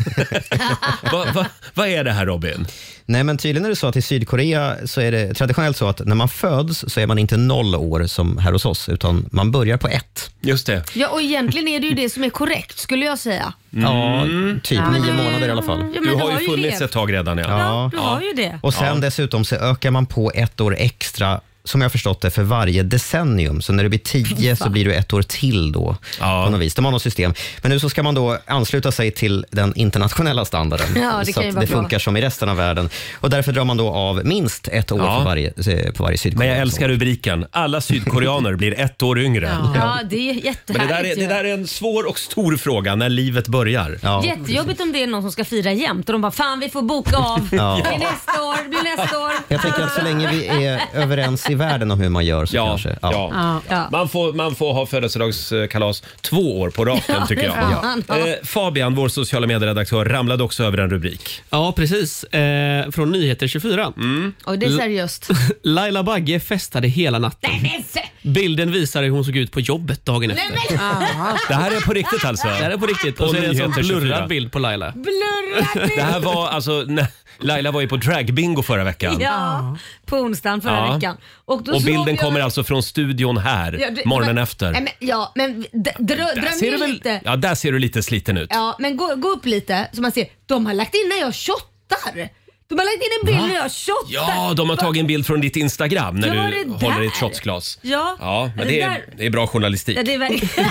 [SPEAKER 1] Vad va, vad är det här Robin?
[SPEAKER 8] Nej, men tydligen är det så att i Sydkorea så är det traditionellt så att när man föds så är man inte noll år som här hos oss, utan man börjar på ett.
[SPEAKER 1] Just det.
[SPEAKER 2] Ja, och egentligen är det ju det som är korrekt skulle jag säga.
[SPEAKER 8] Ja,
[SPEAKER 1] Mm.
[SPEAKER 8] typ
[SPEAKER 2] Ja, men
[SPEAKER 8] nio
[SPEAKER 2] du-
[SPEAKER 8] månader i alla fall.
[SPEAKER 2] men Du har du har ju ju funnits levt. ett
[SPEAKER 1] tag redan. Ja,
[SPEAKER 2] Du har ju det.
[SPEAKER 8] Och sen dessutom så ökar man på ett år extra, som jag har förstått det, för varje decennium. Så när du blir tio så blir du ett år till då. På något vis. De har något system. Men nu så ska man då ansluta sig till den internationella standarden.
[SPEAKER 9] Ja, det
[SPEAKER 8] så
[SPEAKER 9] kan ju
[SPEAKER 8] att
[SPEAKER 9] vara
[SPEAKER 8] det
[SPEAKER 9] bra.
[SPEAKER 8] funkar som i resten av världen. Och därför drar man då av minst ett år
[SPEAKER 1] Ja.
[SPEAKER 8] för varje, eh, på varje
[SPEAKER 1] Men
[SPEAKER 8] Sydkorea.
[SPEAKER 1] jag älskar rubriken. Alla sydkoreaner blir ett år yngre.
[SPEAKER 2] Ja, det är
[SPEAKER 1] Men det
[SPEAKER 2] jättehärligt.
[SPEAKER 1] där, är, det
[SPEAKER 2] ju.
[SPEAKER 1] där är en svår och stor fråga när livet börjar.
[SPEAKER 2] Jättejobbigt om det är någon som ska fira jämt och de bara fan vi får boka av.
[SPEAKER 8] Ja.
[SPEAKER 2] Det blir nästa år, det blir nästa år.
[SPEAKER 8] Jag tänker att så länge vi är överens i världen om hur man gör så kanske.
[SPEAKER 2] Ja. Ja.
[SPEAKER 1] Man, får, man får ha födelsedagskalas två år på raken
[SPEAKER 11] Ja,
[SPEAKER 1] tycker
[SPEAKER 11] det
[SPEAKER 1] jag.
[SPEAKER 11] får man ha.
[SPEAKER 1] Eh, Fabian, vår sociala medieredaktör, ramlade också över en rubrik. Mm.
[SPEAKER 11] Ja, precis. Eh, från Nyheter 24.
[SPEAKER 2] Oj, det är seriöst.
[SPEAKER 11] Laila Bagge festade hela natten.
[SPEAKER 2] Nej, men se-
[SPEAKER 11] Bilden visar hur hon såg ut på jobbet dagen efter.
[SPEAKER 2] Nej, men- Ah.
[SPEAKER 1] Det här är på riktigt alltså?
[SPEAKER 11] Det här är på riktigt.
[SPEAKER 1] På
[SPEAKER 11] Och så är det en sån
[SPEAKER 1] Nyheter 24.
[SPEAKER 11] blurrad bild på Laila.
[SPEAKER 2] Blurrat ut.
[SPEAKER 1] Det här var alltså, när Laila var ju på dragbingo förra veckan.
[SPEAKER 2] Ja, på onsdagen förra
[SPEAKER 1] Ja.
[SPEAKER 2] veckan. Och, då
[SPEAKER 1] Och
[SPEAKER 2] såg
[SPEAKER 1] bilden
[SPEAKER 2] jag-
[SPEAKER 1] kommer alltså från studion här,
[SPEAKER 2] Ja, det-
[SPEAKER 1] morgonen
[SPEAKER 2] men-
[SPEAKER 1] efter.
[SPEAKER 2] Nej, men, ja, men d- drö,
[SPEAKER 1] Där
[SPEAKER 2] dröm
[SPEAKER 1] ser,
[SPEAKER 2] ju
[SPEAKER 1] du väl,
[SPEAKER 2] lite.
[SPEAKER 1] ja, där ser du lite sliten ut.
[SPEAKER 2] Ja, men gå, gå upp lite så man ser. De har lagt in när jag shottar. De har lagt in en bild när jag shottar.
[SPEAKER 1] Ja, de har tagit en bild från ditt Instagram när
[SPEAKER 2] Ja, var
[SPEAKER 1] du
[SPEAKER 2] det
[SPEAKER 1] håller
[SPEAKER 2] där?
[SPEAKER 1] i ett shotsglas.
[SPEAKER 2] Ja,
[SPEAKER 1] Ja, men det är,
[SPEAKER 2] där-
[SPEAKER 1] det är bra journalistik.
[SPEAKER 2] Ja, det är verkligen...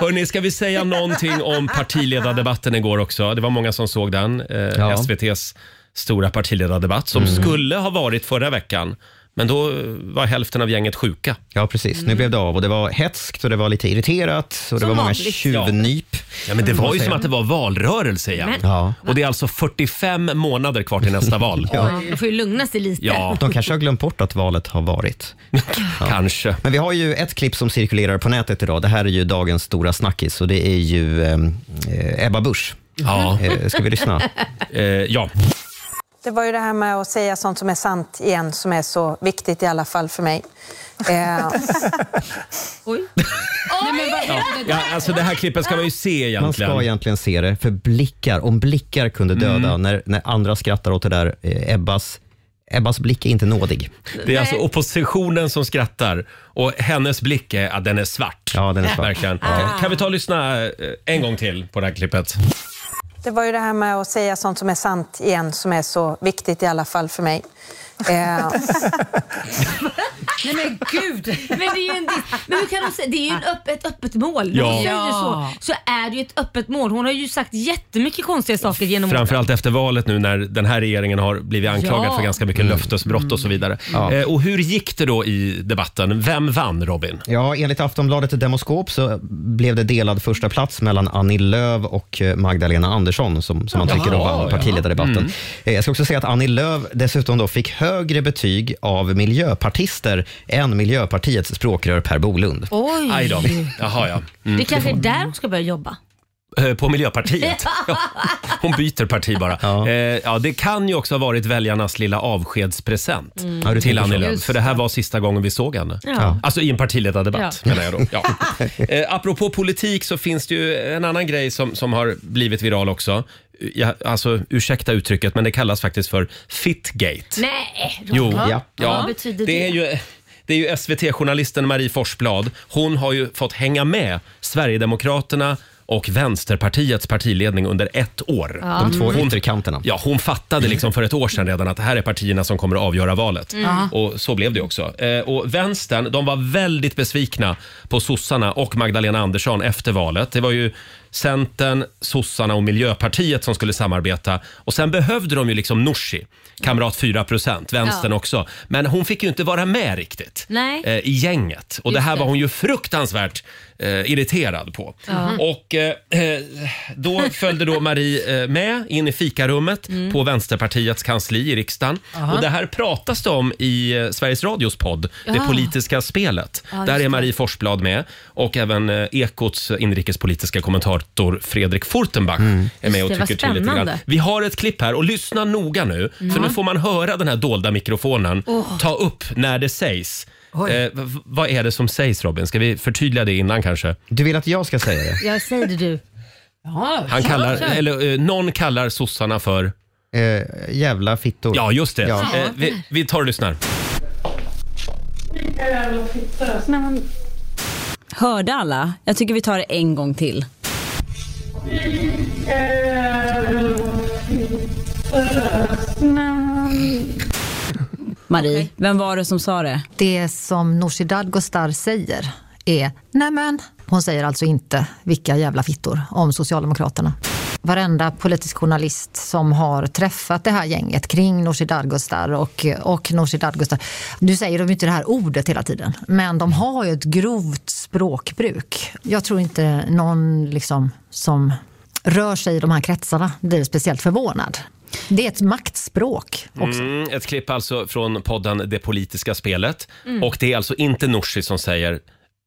[SPEAKER 1] Hörni, ska vi säga någonting om partiledardebatten igår också? Det var många som såg
[SPEAKER 8] Mm.
[SPEAKER 1] den. Eh, SVTs stora partiledardebatt som skulle ha varit förra veckan. Men då var hälften av gänget sjuka.
[SPEAKER 8] Ja, precis. Nu blev det av och det var hetskt och det var lite irriterat och det
[SPEAKER 1] Som
[SPEAKER 8] var många
[SPEAKER 1] vanligt.
[SPEAKER 8] tjuvnyp.
[SPEAKER 1] Ja, men det
[SPEAKER 8] Får
[SPEAKER 1] var
[SPEAKER 8] man
[SPEAKER 1] ju
[SPEAKER 8] säga.
[SPEAKER 1] som att det var valrörelse igen.
[SPEAKER 2] Men-
[SPEAKER 8] Ja.
[SPEAKER 1] Och det är alltså 45 månader kvar till nästa val.
[SPEAKER 2] Ja. Man får ju lugna sig lite.
[SPEAKER 8] De kanske har glömt bort att valet har varit.
[SPEAKER 1] Kanske.
[SPEAKER 8] Men vi har ju ett klipp som cirkulerar på nätet idag. Det här är ju dagens stora snackis och det är ju eh, eh, Ebba Busch.
[SPEAKER 1] Ja. Eh,
[SPEAKER 8] Eh, ska vi lyssna?
[SPEAKER 1] ja.
[SPEAKER 12] Det var ju det här med att säga sånt som är sant igen som är så viktigt i alla fall för mig. Eh,
[SPEAKER 2] Nej, men vad
[SPEAKER 1] Ja,
[SPEAKER 2] är det
[SPEAKER 1] ja,
[SPEAKER 2] där?
[SPEAKER 1] alltså det här klippet ska man ju se egentligen.
[SPEAKER 8] Man ska egentligen se det, för blickar, om blickar kunde döda,
[SPEAKER 1] Mm.
[SPEAKER 8] när, när andra skrattar åt det där, eh, Ebbas, Ebbas blick är inte nådig.
[SPEAKER 1] Det är alltså oppositionen som skrattar och hennes blick är att den är svart. Ja,
[SPEAKER 8] den är svart.
[SPEAKER 1] Verkligen.
[SPEAKER 12] Ah.
[SPEAKER 1] Kan vi ta och lyssna eh, en gång till på det här klippet?
[SPEAKER 12] det var ju det här med att säga sånt som är sant igen som är så viktigt i alla fall för mig. Eh,
[SPEAKER 2] Nej men gud! Men det är ju, en, men hur kan de säga, det är ju en öpp, ett öppet mål. När
[SPEAKER 1] Ja.
[SPEAKER 2] hon säger
[SPEAKER 1] Ja.
[SPEAKER 2] så, så är det ju ett öppet mål. Hon har ju sagt jättemycket konstiga saker genom
[SPEAKER 1] Framförallt efter valet nu när den här regeringen har blivit anklagad
[SPEAKER 2] Ja. Mm.
[SPEAKER 1] för ganska mycket löftesbrott och så vidare. Eh, Och hur gick det då i debatten? Vem vann Robin?
[SPEAKER 8] Ja, enligt Aftonbladet Demoskop så blev det delad första plats mellan Annie Lööf och eh, Magdalena Andersson som, som man tycker då
[SPEAKER 1] Jaha,
[SPEAKER 8] vann partiledardebatten.
[SPEAKER 1] jaha. Mm.
[SPEAKER 8] Eh, Jag ska också säga att Annie Lööf dessutom då fick högre betyg av miljöpartister än Miljöpartiets språkrör Per Bolund.
[SPEAKER 2] Oj! Aj då. Mm.
[SPEAKER 1] Jaha, ja.
[SPEAKER 2] Det kanske är där hon ska börja jobba.
[SPEAKER 1] Eh, På Miljöpartiet. Mm. Ja, hon byter parti bara. Ja. ja, det kan ju också ha varit väljarnas lilla avskedspresent
[SPEAKER 2] Mm. Ja, du
[SPEAKER 1] till
[SPEAKER 2] tänker
[SPEAKER 1] Annie
[SPEAKER 2] så.
[SPEAKER 1] Lööf.
[SPEAKER 2] Just
[SPEAKER 1] För det här var sista gången vi såg henne.
[SPEAKER 2] Ja.
[SPEAKER 1] Alltså i en partiledardebatt
[SPEAKER 2] Ja.
[SPEAKER 1] menar jag då. Ja. Eh, apropå politik så finns det ju en annan grej som, som har blivit viral också. Ja, alltså ursäkta uttrycket men det kallas faktiskt för fitgate.
[SPEAKER 2] Nej!
[SPEAKER 1] Jo,
[SPEAKER 2] Robin.
[SPEAKER 1] ja.
[SPEAKER 2] Vad betyder det?
[SPEAKER 1] är ju... Det är ju SVT-journalisten Marie Forsblad. Hon har ju fått hänga med Sverigedemokraterna och Vänsterpartiets partiledning under ett år.
[SPEAKER 8] Ja. De två
[SPEAKER 1] hon,
[SPEAKER 8] ytterkanterna.
[SPEAKER 1] Ja, hon fattade liksom för ett år sedan redan att det här är partierna som kommer att avgöra valet.
[SPEAKER 8] Mm.
[SPEAKER 1] Och så blev det också. Eh, och vänstern, de var väldigt besvikna på sossarna och Magdalena Andersson efter valet. Det var ju Centern, sossarna och Miljöpartiet som skulle samarbeta. Och sen behövde de ju liksom Nooshi, kamrat 4 procent, vänstern
[SPEAKER 2] Ja.
[SPEAKER 1] också. Men hon fick ju inte vara med riktigt
[SPEAKER 2] Nej.
[SPEAKER 1] eh, i gänget. Och det
[SPEAKER 2] Just
[SPEAKER 1] här
[SPEAKER 2] det.
[SPEAKER 1] var hon ju fruktansvärt eh, irriterad på.
[SPEAKER 2] Ja.
[SPEAKER 1] Och eh, eh, då följde då Marie eh, med in i fikarummet
[SPEAKER 2] Mm.
[SPEAKER 1] på Vänsterpartiets kansli i riksdagen.
[SPEAKER 2] Aha.
[SPEAKER 1] Och det här pratas det om i eh, Sveriges Radios podd, Det
[SPEAKER 2] Ja.
[SPEAKER 1] politiska spelet.
[SPEAKER 2] Ja, just
[SPEAKER 1] Där är
[SPEAKER 2] det.
[SPEAKER 1] Marie Forsblad med och även eh, Ekots inrikespolitiska kommentator Fredrik Fortenbach
[SPEAKER 8] Mm.
[SPEAKER 1] är med
[SPEAKER 2] Just
[SPEAKER 1] och
[SPEAKER 2] det, vad
[SPEAKER 1] tycker till lite grann.
[SPEAKER 2] spännande.
[SPEAKER 1] Vi har ett klipp här och lyssna noga nu för
[SPEAKER 2] Ja.
[SPEAKER 1] nu får man höra den här dolda mikrofonen
[SPEAKER 2] Åh.
[SPEAKER 1] ta upp när det sägs. Eh, v- v- vad är det som sägs Robin? Ska vi förtydliga det innan kanske?
[SPEAKER 8] Du vill att jag ska säga det?
[SPEAKER 2] Jag säger det du. Ja,
[SPEAKER 1] Han
[SPEAKER 2] kör,
[SPEAKER 1] kallar,
[SPEAKER 2] kör.
[SPEAKER 1] eller, eh, någon kallar sossarna för...
[SPEAKER 8] Eh, jävla fittor.
[SPEAKER 1] Ja, just det.
[SPEAKER 8] Ja.
[SPEAKER 1] Eh, vi, vi tar och lyssnar.
[SPEAKER 13] Hörde alla? Jag tycker vi tar det en gång till. Marie, vem var det som sa det?
[SPEAKER 14] Det som Nooshi Dadgostar säger är nämen. Hon säger alltså inte vilka jävla fittor om Socialdemokraterna. Varenda politisk journalist som har träffat det här gänget kring Nooshi Dadgostar och, och Nooshi Dadgostar. Nu säger de ju inte det här ordet hela tiden, men de har ju ett grovt språkbruk. Jag tror inte någon liksom som rör sig i de här kretsarna blir speciellt förvånad. Det är ett maktspråk också.
[SPEAKER 1] Mm, ett klipp alltså från podden Det politiska spelet.
[SPEAKER 14] Mm.
[SPEAKER 1] Och det är alltså inte Nooshi som säger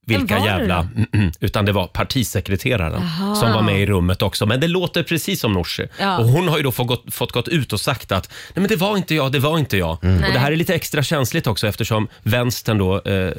[SPEAKER 1] vilka
[SPEAKER 14] Vem var det
[SPEAKER 1] jävla...
[SPEAKER 14] då?
[SPEAKER 1] Mm, mm, utan det var partisekreteraren
[SPEAKER 2] Jaha.
[SPEAKER 1] som var med i rummet också. Men det låter precis som Nooshi.
[SPEAKER 2] Ja.
[SPEAKER 1] Och hon har ju då fått, gått- fått gått ut och sagt att nej men det var inte jag, det var inte jag. Och
[SPEAKER 2] Nej.
[SPEAKER 1] det här är lite extra känsligt också eftersom vänstern då... Eh,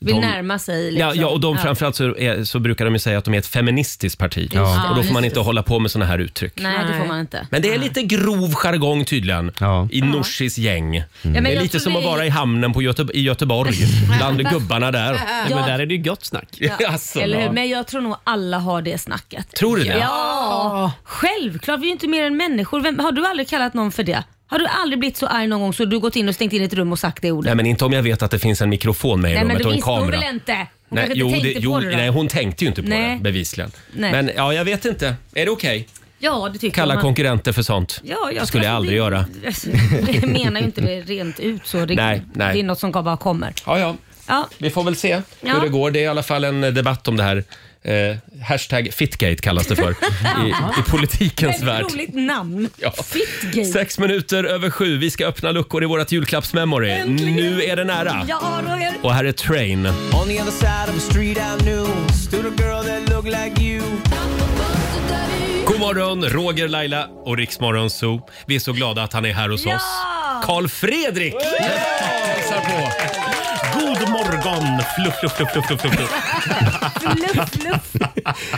[SPEAKER 2] Vill
[SPEAKER 1] de-
[SPEAKER 2] närma sig liksom.
[SPEAKER 1] Ja, ja, och de, framförallt så, är, så brukar de ju säga att de är ett feministiskt parti.
[SPEAKER 2] Ja.
[SPEAKER 1] Och då får man
[SPEAKER 2] Ja,
[SPEAKER 1] inte hålla på med såna här uttryck.
[SPEAKER 2] Nej, det får man inte.
[SPEAKER 1] Men det är lite grov jargong tydligen i Norsis gäng.
[SPEAKER 2] men
[SPEAKER 1] det är
[SPEAKER 2] jag
[SPEAKER 1] lite
[SPEAKER 2] tror
[SPEAKER 1] som
[SPEAKER 2] det
[SPEAKER 1] att
[SPEAKER 2] är-
[SPEAKER 1] vara i hamnen på Göte... i Göteborg bland gubbarna där. Alltså,
[SPEAKER 2] Ja, men där
[SPEAKER 1] är det ju gott snack.
[SPEAKER 2] Ja, eller hur? Men jag tror nog alla har det snacket.
[SPEAKER 1] Tror du det?
[SPEAKER 2] Ja! Självklart, vi är ju inte mer än människor. Vem, har du aldrig kallat någon för det? Har du aldrig blivit så arg någon gång så du gått in och stängt in i ett rum och sagt det ordet?
[SPEAKER 1] Nej men inte om jag vet att det finns en mikrofon med i
[SPEAKER 2] Nej, men
[SPEAKER 1] rummet
[SPEAKER 2] det
[SPEAKER 1] och en
[SPEAKER 2] visste hon
[SPEAKER 1] kamera.
[SPEAKER 2] väl inte? Hon
[SPEAKER 1] Nej,
[SPEAKER 2] kanske
[SPEAKER 1] jo,
[SPEAKER 2] inte
[SPEAKER 1] det,
[SPEAKER 2] tänkte
[SPEAKER 1] jo,
[SPEAKER 2] på det där.
[SPEAKER 1] nej, hon tänkte ju inte på
[SPEAKER 2] Nej.
[SPEAKER 1] det bevisligen.
[SPEAKER 2] Nej.
[SPEAKER 1] Men ja, jag vet inte. Är det okej?
[SPEAKER 2] Ja, det tycker
[SPEAKER 1] Kalla
[SPEAKER 2] man.
[SPEAKER 1] konkurrenter för sånt.
[SPEAKER 2] Ja, jag
[SPEAKER 1] det skulle jag
[SPEAKER 2] kanske
[SPEAKER 1] aldrig
[SPEAKER 2] blir-
[SPEAKER 1] göra.
[SPEAKER 2] Jag menar ju inte det rent ut så. Det,
[SPEAKER 1] Nej, nej.
[SPEAKER 2] det är något som bara kommer.
[SPEAKER 1] Ja, ja.
[SPEAKER 2] Ja.
[SPEAKER 1] Vi får väl se
[SPEAKER 2] Ja.
[SPEAKER 1] hur det går. Det är i alla fall en eh, debatt om det här. Eh, hashtag fitgate kallas det för i, i politikens värld.
[SPEAKER 2] Väldigt roligt namn.
[SPEAKER 1] Ja.
[SPEAKER 2] Fitgate.
[SPEAKER 1] Sex minuter över sju. Vi ska öppna luckor i vårt julklappsmemory. Nu är det nära.
[SPEAKER 2] Ja, Roger.
[SPEAKER 1] Och här är Train.
[SPEAKER 15] On the other side of the street I knew stood a girl that looked like you.
[SPEAKER 1] God morgon, Roger, Laila och Riksmorgon Zoo. Vi är så glada att han är här hos oss. Karl Fredrik! Hälsar på. God morgon! Fluff, fluff, fluff, fluff, fluff, fluff.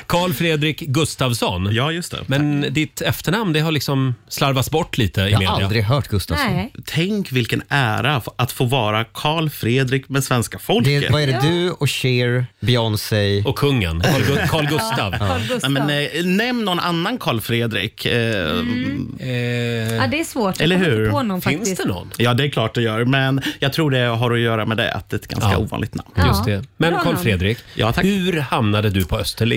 [SPEAKER 1] Karl Fredrik Gustafsson. Ja, just det. Men ditt efternamn det har liksom slarvats bort lite i
[SPEAKER 16] Jag har
[SPEAKER 1] media.
[SPEAKER 16] aldrig Alltså,
[SPEAKER 1] hört
[SPEAKER 2] Gustafsson. Nej.
[SPEAKER 16] Tänk vilken ära f- att få vara Karl Fredrik med svenska folket.
[SPEAKER 8] Det, vad är det du och Cher, Beyoncé
[SPEAKER 1] och kungen?
[SPEAKER 8] Carl,
[SPEAKER 1] Carl Gustav.
[SPEAKER 2] Carl Gustav.
[SPEAKER 16] Nej, men, eh, nämn någon annan Karl Fredrik. Eh,
[SPEAKER 2] Mm.
[SPEAKER 16] mm.
[SPEAKER 2] Ja, det är svårt. Jag
[SPEAKER 16] Eller
[SPEAKER 2] kommer inte
[SPEAKER 16] hur?
[SPEAKER 2] På någon, faktiskt.
[SPEAKER 16] Ja, det är klart det gör. Men jag tror det har att göra med det att det är ett ganska ovanligt namn.
[SPEAKER 2] Ja. Just det.
[SPEAKER 1] Men
[SPEAKER 2] Bra
[SPEAKER 1] Carl
[SPEAKER 2] namn.
[SPEAKER 1] Fredrik, hur hamnade du på Österlen?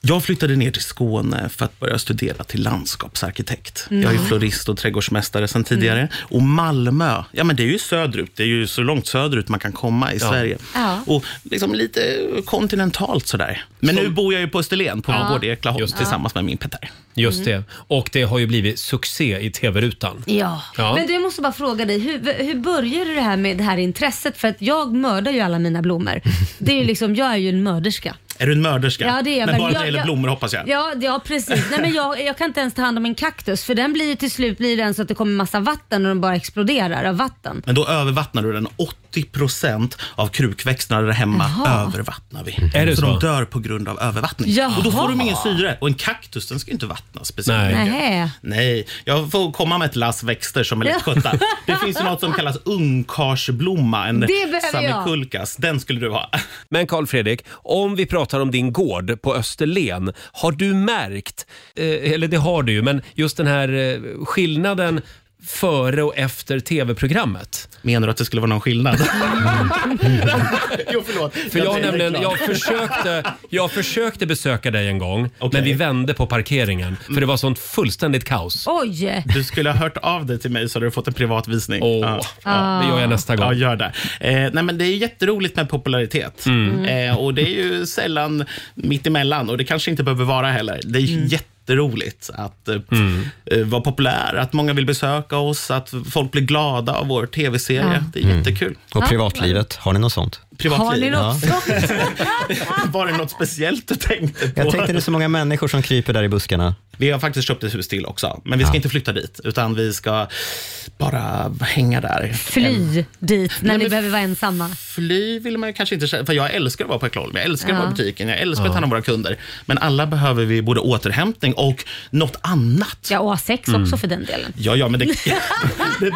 [SPEAKER 16] Jag flyttade ner till Skåne för att börja studera till landskapsarkitekt.
[SPEAKER 1] Mm.
[SPEAKER 16] Jag är florist och trädgårdsmästare sedan tidigare.
[SPEAKER 2] Mm.
[SPEAKER 16] Och Malmö, ja men det är ju söderut. Det är ju så långt söderut man kan komma i Sverige.
[SPEAKER 9] Ja.
[SPEAKER 16] Och liksom lite kontinentalt sådär. Men nu bor jag ju på Österlen, på
[SPEAKER 1] Ja.
[SPEAKER 16] vår gård i Eklaholm, tillsammans med min Petter.
[SPEAKER 1] Just
[SPEAKER 2] Mm.
[SPEAKER 1] det. Och det har ju blivit succé i TV-rutan.
[SPEAKER 2] Ja.
[SPEAKER 1] Ja.
[SPEAKER 2] men du jag måste bara fråga dig, hur, hur började det här med det här intresset? För att jag mördar ju alla mina blommor. Det är ju liksom, jag är ju en mörderska.
[SPEAKER 16] Är du en mörderska?
[SPEAKER 2] Ja, det är jag
[SPEAKER 16] men
[SPEAKER 2] väl.
[SPEAKER 16] bara när det
[SPEAKER 2] Jag-
[SPEAKER 16] gäller
[SPEAKER 2] jag-
[SPEAKER 16] blommor hoppas jag.
[SPEAKER 2] Ja, ja precis. Nej, men jag, jag kan inte ens ta hand om en kaktus för den blir ju till slut blir den så att det kommer massa vatten och den bara exploderar av vatten.
[SPEAKER 16] Men då övervattnar du den. 80 av krukväxterna där hemma
[SPEAKER 2] Jaha.
[SPEAKER 16] övervattnar vi.
[SPEAKER 1] Mm. Är det
[SPEAKER 16] så,
[SPEAKER 1] så?
[SPEAKER 16] de dör på grund av övervattning.
[SPEAKER 2] Jaha.
[SPEAKER 16] Och då får de ingen syre. Och en kaktus den ska ju inte vattnas speciellt
[SPEAKER 2] Nej.
[SPEAKER 16] mycket.
[SPEAKER 2] Nähä.
[SPEAKER 16] Nej, jag får komma med ett lass växter som är lättskötta. Det finns ju något som kallas ungkarlsblomma, en
[SPEAKER 2] Det behöver jag.
[SPEAKER 16] samikulkas. Den skulle du ha.
[SPEAKER 1] Men Carl Fredrik, om vi pratar om din gård på Österlen, har du märkt, eh, eller det har du ju, men just den här eh, skillnaden före och efter tv-programmet?
[SPEAKER 16] Menar du att det skulle vara någon skillnad? jo, förlåt.
[SPEAKER 1] För jag,
[SPEAKER 16] Jag tänkte
[SPEAKER 1] nämligen,
[SPEAKER 16] klart.
[SPEAKER 1] jag, försökte, jag försökte besöka dig en gång, men vi vände på parkeringen för det var sånt fullständigt kaos.
[SPEAKER 2] Oj!
[SPEAKER 16] Du skulle ha hört av dig till mig så hade du fått en privat visning. ja.
[SPEAKER 2] Ah. Det gör jag
[SPEAKER 1] nästa gång.
[SPEAKER 16] Ja, gör det. Eh, nej, men det är ju jätteroligt med popularitet.
[SPEAKER 1] Mm.
[SPEAKER 16] Eh, och Det är ju sällan mitt emellan och det kanske inte behöver vara heller. Det är ju
[SPEAKER 8] Mm.
[SPEAKER 16] jätteroligt att eh,
[SPEAKER 1] Mm.
[SPEAKER 16] eh, vara populär, att många vill besöka oss, att folk blir glada av vår tv-serie.
[SPEAKER 8] Ja.
[SPEAKER 16] Det är jättekul.
[SPEAKER 8] Mm. Och privatlivet, har ni något sånt?
[SPEAKER 16] Privatliv.
[SPEAKER 8] Ja.
[SPEAKER 16] Var det något speciellt du tänkte på?
[SPEAKER 8] Jag tänkte det är så många människor som kryper där i buskarna.
[SPEAKER 16] Vi har faktiskt köpt ett hus till också, men vi ska inte flytta dit, utan vi ska bara hänga där.
[SPEAKER 2] Fly dit när
[SPEAKER 16] Nej,
[SPEAKER 2] ni
[SPEAKER 16] men-
[SPEAKER 2] behöver vara ensamma.
[SPEAKER 16] Fly vill man kanske inte känna, för jag älskar att vara på Ekholm, jag älskar att
[SPEAKER 2] Ja.
[SPEAKER 16] vara i butiken, jag älskar att
[SPEAKER 2] Ja.
[SPEAKER 16] ta hand om våra kunder. Men alla behöver vi både återhämtning och något annat.
[SPEAKER 2] Ja, och ha sex
[SPEAKER 16] Mm.
[SPEAKER 2] också för den delen.
[SPEAKER 16] Ja, ja, men det... det, det,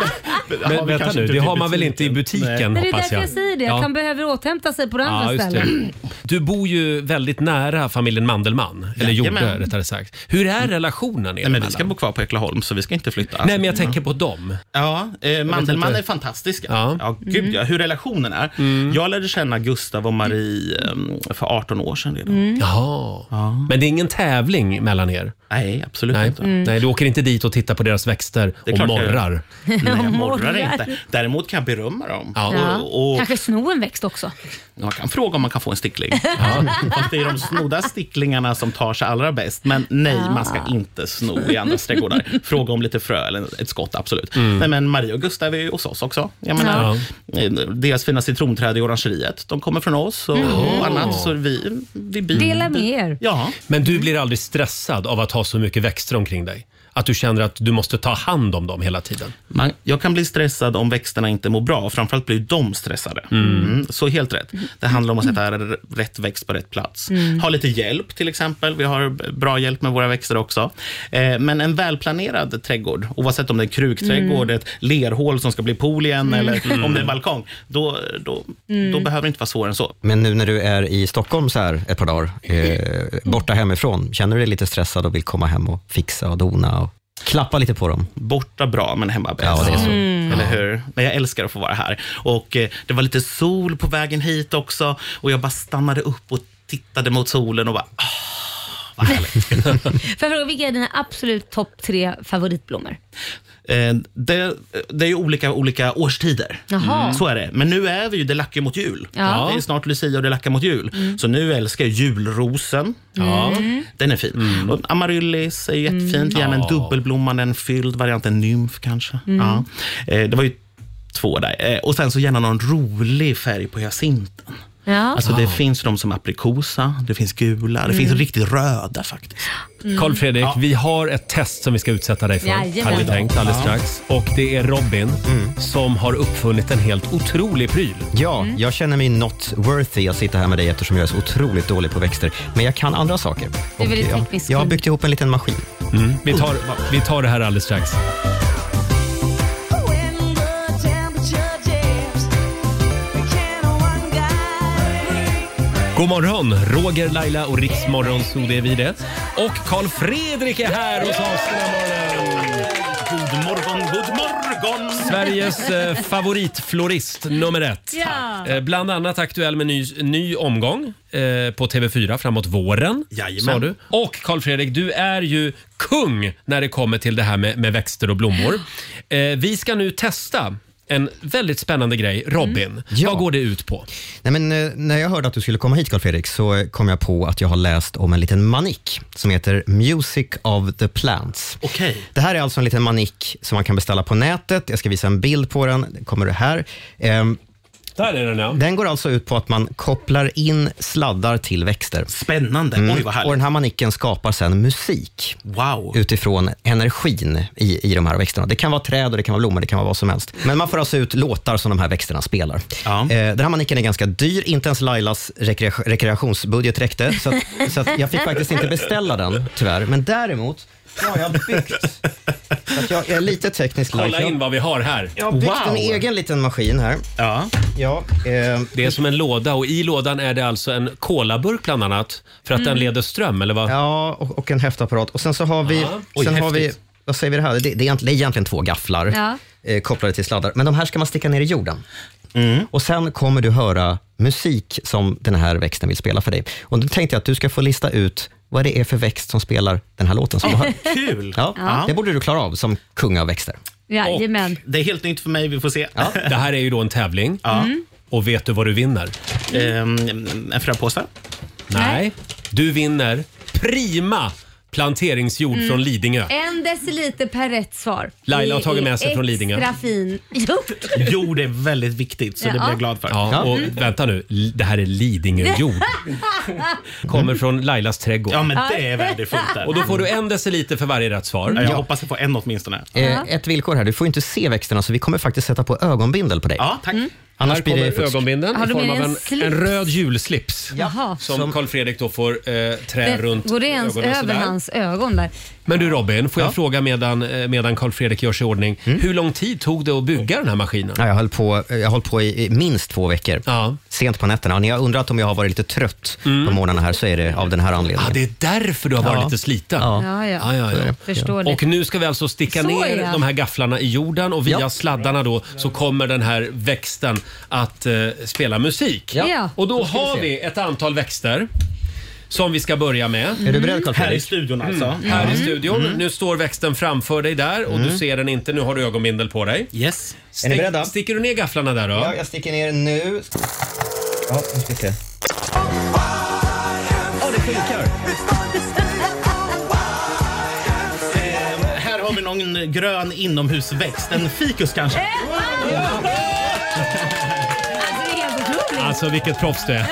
[SPEAKER 1] Men vänta nu, det har man väl inte i butiken,
[SPEAKER 2] Men det är
[SPEAKER 1] hoppas
[SPEAKER 2] därför jag. säger det, att han behöver återhämta sig på det andra
[SPEAKER 1] Ja, just
[SPEAKER 2] stället.
[SPEAKER 1] det. Du bor ju väldigt nära familjen Mandelmann, eller gjorde
[SPEAKER 16] Jajamän.
[SPEAKER 1] rättare sagt. Hur är relationen er
[SPEAKER 16] Nej, men vi
[SPEAKER 1] emellan?
[SPEAKER 16] ska bo kvar på Ekholm, så vi ska inte flytta.
[SPEAKER 1] Nej, men jag tänker på dem.
[SPEAKER 16] Ja, eh, Mandelmann
[SPEAKER 1] inte.
[SPEAKER 16] är fantastiska.
[SPEAKER 1] Ja.
[SPEAKER 16] Ja.
[SPEAKER 2] Mm.
[SPEAKER 16] Mm. gud, ja, hur relationen är. Jag lärde känna Gustav och Marie em, för 18 år sedan redan.
[SPEAKER 1] Mm. Jaha. Men det är ingen tävling mellan er?
[SPEAKER 16] Nej, absolut
[SPEAKER 1] Nej. Mm.
[SPEAKER 16] inte.
[SPEAKER 1] Nej, du åker inte dit och tittar på deras växter
[SPEAKER 16] är
[SPEAKER 1] och
[SPEAKER 16] klart jag gör.
[SPEAKER 1] morrar?
[SPEAKER 16] Nej, jag
[SPEAKER 2] Morrar.
[SPEAKER 16] morrar inte. Däremot kan jag berömma dem.
[SPEAKER 2] Ja.
[SPEAKER 16] Och, och,
[SPEAKER 2] Kanske sno en växt också.
[SPEAKER 16] jag kan fråga om man kan få en stickling. Ja. Fast det är de snodda sticklingarna som tar sig allra bäst. Men nej, man ska inte sno i andras trädgårdar. Fråga om lite frö eller ett skott, absolut.
[SPEAKER 1] Mm.
[SPEAKER 16] Nej, men Marie och Gustav är ju hos oss också. Jag menar, eh, Deras fina citronträd i orangeriet, de kommer från oss. Och, och annat, så vi, vi bi-
[SPEAKER 2] Mm. Dela
[SPEAKER 1] Mm.
[SPEAKER 2] med er.
[SPEAKER 16] Ja.
[SPEAKER 1] Men du blir aldrig stressad av att ha så mycket växter omkring dig? Att du känner att du måste ta hand om dem hela tiden?
[SPEAKER 16] Man, jag kan bli stressad om växterna inte mår bra. Framförallt blir de stressade.
[SPEAKER 1] Mm.
[SPEAKER 16] Mm, så helt rätt. Det handlar om att sätta r- rätt växt på rätt plats.
[SPEAKER 1] Mm.
[SPEAKER 16] Ha lite hjälp till exempel. Vi har b- bra hjälp med våra växter också. Eh, men en välplanerad trädgård, oavsett om det är en krukträdgård,
[SPEAKER 1] Mm.
[SPEAKER 16] ett lerhål som ska bli pool
[SPEAKER 1] Mm.
[SPEAKER 16] igen eller om det är en balkong, då, då, då
[SPEAKER 1] Mm.
[SPEAKER 16] behöver det inte vara svårare än så.
[SPEAKER 8] Men nu när du är i Stockholm så här ett par dagar,
[SPEAKER 1] Mm.
[SPEAKER 8] eh, borta hemifrån, känner du dig lite stressad och vill komma hem och fixa och dona och klappa lite på dem?
[SPEAKER 16] Borta bra, men hemma bäst.
[SPEAKER 8] Ja, det är så.
[SPEAKER 2] Mm.
[SPEAKER 16] Eller hur? Men jag älskar att få vara här. Och eh, Det var lite sol på vägen hit också och jag bara stannade upp och tittade mot solen och bara ah, vad härligt.
[SPEAKER 2] Får jag fråga, vilka är dina absolut topp tre favoritblommor?
[SPEAKER 16] Eh, det, det är ju olika, olika årstider. Mm.
[SPEAKER 2] Jaha.
[SPEAKER 16] Så är det. Men nu är vi ju, det lackar ju mot jul.
[SPEAKER 2] Ja.
[SPEAKER 16] Det är snart Lucia och det lackar mot jul.
[SPEAKER 2] Mm.
[SPEAKER 16] Så nu älskar jag julrosen.
[SPEAKER 2] Ja. Mm.
[SPEAKER 16] Den är fin. Och amaryllis är ju jättefint.
[SPEAKER 2] Mm.
[SPEAKER 16] Gärna en
[SPEAKER 2] Ja.
[SPEAKER 16] dubbelblommande, en fylld variant, en nymf kanske.
[SPEAKER 2] Mm.
[SPEAKER 16] Ja. Eh, det var ju två där. Eh, och sen så gärna någon rolig färg på hyacinten.
[SPEAKER 2] Ja.
[SPEAKER 16] Alltså
[SPEAKER 1] Ah.
[SPEAKER 16] det finns ju de som är aprikosa, det finns gula, det
[SPEAKER 2] Mm.
[SPEAKER 16] finns riktigt röda faktiskt.
[SPEAKER 2] Mm.
[SPEAKER 1] Carl Fredrik, vi har ett test som vi ska utsätta dig för.
[SPEAKER 2] Jajamän.
[SPEAKER 1] Hade vi tänkt alldeles
[SPEAKER 16] Ja.
[SPEAKER 1] strax. Och det är Robin Mm. som har uppfunnit en helt otrolig pryl. Mm.
[SPEAKER 8] Ja, jag känner mig not worthy att sitta här med dig eftersom jag är så otroligt dålig på växter. Men jag kan andra saker.
[SPEAKER 2] Du är
[SPEAKER 8] Och
[SPEAKER 2] väldigt
[SPEAKER 8] jag,
[SPEAKER 2] teknisk.
[SPEAKER 8] jag har byggt ihop en liten maskin.
[SPEAKER 1] Mm. Vi, tar, vi tar det här alldeles strax. God morgon, Roger, Laila och Riksmorgon, så det är vi det. Och Carl Fredrik är här hos oss den här morgonen.
[SPEAKER 16] God morgon, god morgon!
[SPEAKER 1] Sveriges eh, favoritflorist nummer ett.
[SPEAKER 2] Ja.
[SPEAKER 1] Eh, bland annat aktuell med ny, ny omgång eh, på TV4 framåt våren.
[SPEAKER 16] Jajamän.
[SPEAKER 1] Sa du. Och Carl Fredrik, du är ju kung när det kommer till det här med, med växter och blommor. Eh, vi ska nu testa en väldigt spännande grej. Robin,
[SPEAKER 8] Mm.
[SPEAKER 1] vad går det ut på?
[SPEAKER 8] Nej, men, eh, när jag hörde att du skulle komma hit, Carl Fredrik, så eh, kom jag på att jag har läst om en liten manik som heter Music of the Plants.
[SPEAKER 16] Okej.
[SPEAKER 8] Det här är alltså en liten manik som man kan beställa på nätet. Jag ska visa en bild på den. Den kommer här. Ehm,
[SPEAKER 1] Där är den ja.
[SPEAKER 8] Den går alltså ut på att man kopplar in sladdar till växter. Mm.
[SPEAKER 16] Spännande. Oj, vad härligt.
[SPEAKER 8] Och den här manicken skapar sen musik.
[SPEAKER 16] Wow.
[SPEAKER 8] Utifrån energin i, i de här växterna. Det kan vara träd och det kan vara blommor, det kan vara vad som helst. Men man får alltså ut låtar som de här växterna spelar. Eh, den här manicken är ganska dyr. Inte ens Lailas rekre- rekreationsbudget räckte. Så, att, så att jag fick faktiskt inte beställa den, tyvärr. Men däremot så har jag byggt. Så att jag är lite tekniskt
[SPEAKER 1] Kolla
[SPEAKER 8] lagd. Jag-
[SPEAKER 1] in vad vi har här.
[SPEAKER 8] Jag har byggt en egen liten maskin här.
[SPEAKER 16] Ja.
[SPEAKER 8] Ja, eh,
[SPEAKER 1] Det är som en låda och i lådan är det alltså en kolaburk bland annat för att den
[SPEAKER 8] Mm.
[SPEAKER 1] leder ström eller vad?
[SPEAKER 8] Ja, och, och en häftapparat. Och sen så har vi...
[SPEAKER 1] Ja. Oj,
[SPEAKER 8] sen har vi
[SPEAKER 1] häftigt.
[SPEAKER 8] vad säger vi det här? Det, det, är, egent- det är egentligen två gafflar
[SPEAKER 1] Ja.
[SPEAKER 8] eh, kopplade till sladdar. Men de här ska man sticka ner i jorden.
[SPEAKER 1] Mm.
[SPEAKER 8] Och sen kommer du höra musik som den här växten vill spela för dig. Och då tänkte jag att du ska få lista ut vad det är för växt som spelar den här låten som du hör.
[SPEAKER 16] Kul!
[SPEAKER 8] Ja,
[SPEAKER 2] Ja.
[SPEAKER 8] Det borde du klara av som kung av växter.
[SPEAKER 2] Jajamän.
[SPEAKER 16] Det är helt nytt för mig, vi får se.
[SPEAKER 1] Det här är ju då en tävling.
[SPEAKER 2] Mm.
[SPEAKER 1] Och vet du vad du vinner?
[SPEAKER 16] Ehm, en fröpåse?
[SPEAKER 1] Nej. Du vinner Prima planteringsjord
[SPEAKER 2] Mm.
[SPEAKER 1] från Lidingö.
[SPEAKER 2] En deciliter per rätt svar.
[SPEAKER 1] Laila har
[SPEAKER 2] Det
[SPEAKER 1] tagit
[SPEAKER 2] är
[SPEAKER 1] med sig från Lidingö.
[SPEAKER 2] Extra fin gjort.
[SPEAKER 16] Jo, det är väldigt viktigt,
[SPEAKER 2] så det Ja. blir jag glad för.
[SPEAKER 1] Ja, och
[SPEAKER 2] Mm.
[SPEAKER 1] vänta nu. L- Det här är Lidingöjord. Kommer från Lailas trädgård.
[SPEAKER 16] Ja, men det är värdefullt. där.
[SPEAKER 1] Och då får du en deciliter för varje rätt svar.
[SPEAKER 16] Ja, jag hoppas jag får en åtminstone.
[SPEAKER 8] Eh, ett villkor här, du får inte se växterna så vi kommer faktiskt sätta på ögonbindel på dig.
[SPEAKER 16] Ja, tack.
[SPEAKER 8] Mm. Annars
[SPEAKER 1] Här
[SPEAKER 8] blir det
[SPEAKER 1] kommer
[SPEAKER 8] fusk.
[SPEAKER 1] ögonbindeln
[SPEAKER 2] Har
[SPEAKER 1] i
[SPEAKER 2] du
[SPEAKER 1] form
[SPEAKER 2] med
[SPEAKER 1] av
[SPEAKER 2] en
[SPEAKER 1] en,
[SPEAKER 2] slips?
[SPEAKER 1] en röd julslips.
[SPEAKER 2] Jaha.
[SPEAKER 1] Som Carl Fredrik då får eh, trä
[SPEAKER 2] Det-
[SPEAKER 1] runt
[SPEAKER 2] Går det ens
[SPEAKER 1] ögonen
[SPEAKER 2] över
[SPEAKER 1] sådär.
[SPEAKER 2] hans ögon där?
[SPEAKER 1] Men du Robin, får jag fråga medan, eh, medan Carl Fredrik gör sig i ordning.
[SPEAKER 8] Mm.
[SPEAKER 1] Hur lång tid tog det att bygga den här maskinen?
[SPEAKER 8] Ja, jag höll på, jag har hållit på i, i minst två veckor. Sent på nätterna. Och ni har undrat om jag har varit lite trött på morgnarna här så är det av den här anledningen.
[SPEAKER 1] Mm. Ja, det är därför du har varit lite sliten.
[SPEAKER 8] Ja.
[SPEAKER 2] Ja, ja.
[SPEAKER 1] Ja, ja, ja.
[SPEAKER 2] Förstår det.
[SPEAKER 1] Och nu ska vi alltså sticka
[SPEAKER 2] Så,
[SPEAKER 1] ner
[SPEAKER 2] ja.
[SPEAKER 1] de här gafflarna i jorden och via sladdarna då så kommer den här växten att eh, spela musik.
[SPEAKER 2] Ja. Ja.
[SPEAKER 1] Och då,
[SPEAKER 2] Då ska vi
[SPEAKER 1] har
[SPEAKER 2] se.
[SPEAKER 1] vi ett antal växter som vi ska börja med.
[SPEAKER 8] Är du beredd, Carl Fredrik?
[SPEAKER 16] Här i studion alltså.
[SPEAKER 1] Mm. Här i
[SPEAKER 16] Mm.
[SPEAKER 1] studion.
[SPEAKER 16] Mm.
[SPEAKER 1] Nu står växten framför dig där och du ser den inte. Nu har du ögonbindel på dig.
[SPEAKER 16] Yes.
[SPEAKER 8] Är ni beredda?
[SPEAKER 1] Sticker du ner gafflarna där då?
[SPEAKER 8] Ja, jag sticker ner nu. Ja, nu ska vi se.
[SPEAKER 16] Ja, det funkar. Eh, Här har vi någon grön inomhusväxt. En fikus kanske?
[SPEAKER 2] Alltså, det är helt otroligt.
[SPEAKER 1] Alltså vilket proffs du är.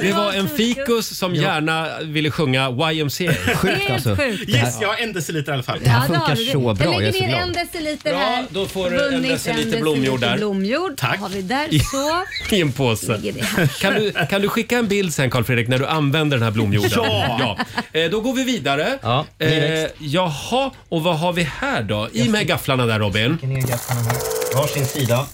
[SPEAKER 1] Det var en fikus som gärna ville sjunga YMCA.
[SPEAKER 2] Helt
[SPEAKER 1] alltså.
[SPEAKER 2] sjukt.
[SPEAKER 16] Yes, jag har en deciliter i alla fall.
[SPEAKER 1] Det här funkar
[SPEAKER 2] har du det.
[SPEAKER 1] så bra,
[SPEAKER 2] Jag
[SPEAKER 1] jag är
[SPEAKER 2] lägger
[SPEAKER 1] så
[SPEAKER 2] ner
[SPEAKER 1] glad.
[SPEAKER 2] en deciliter
[SPEAKER 1] Bra,
[SPEAKER 2] här.
[SPEAKER 1] då får du en
[SPEAKER 2] Vunnit
[SPEAKER 1] deciliter blomjord där.
[SPEAKER 2] blomjord.
[SPEAKER 1] Tack.
[SPEAKER 2] Har vi där så.
[SPEAKER 1] I en påse. Kan du, kan du skicka en bild sen Carl Fredrik när du använder den här blomjorden?
[SPEAKER 2] Ja.
[SPEAKER 1] ja. Eh, Då går vi vidare.
[SPEAKER 8] Ja, ny
[SPEAKER 1] eh,
[SPEAKER 8] växt.
[SPEAKER 1] jaha, och vad har vi här då? I med gafflarna där Robin.
[SPEAKER 8] Sticker ner gafflarna här. Varsin sida.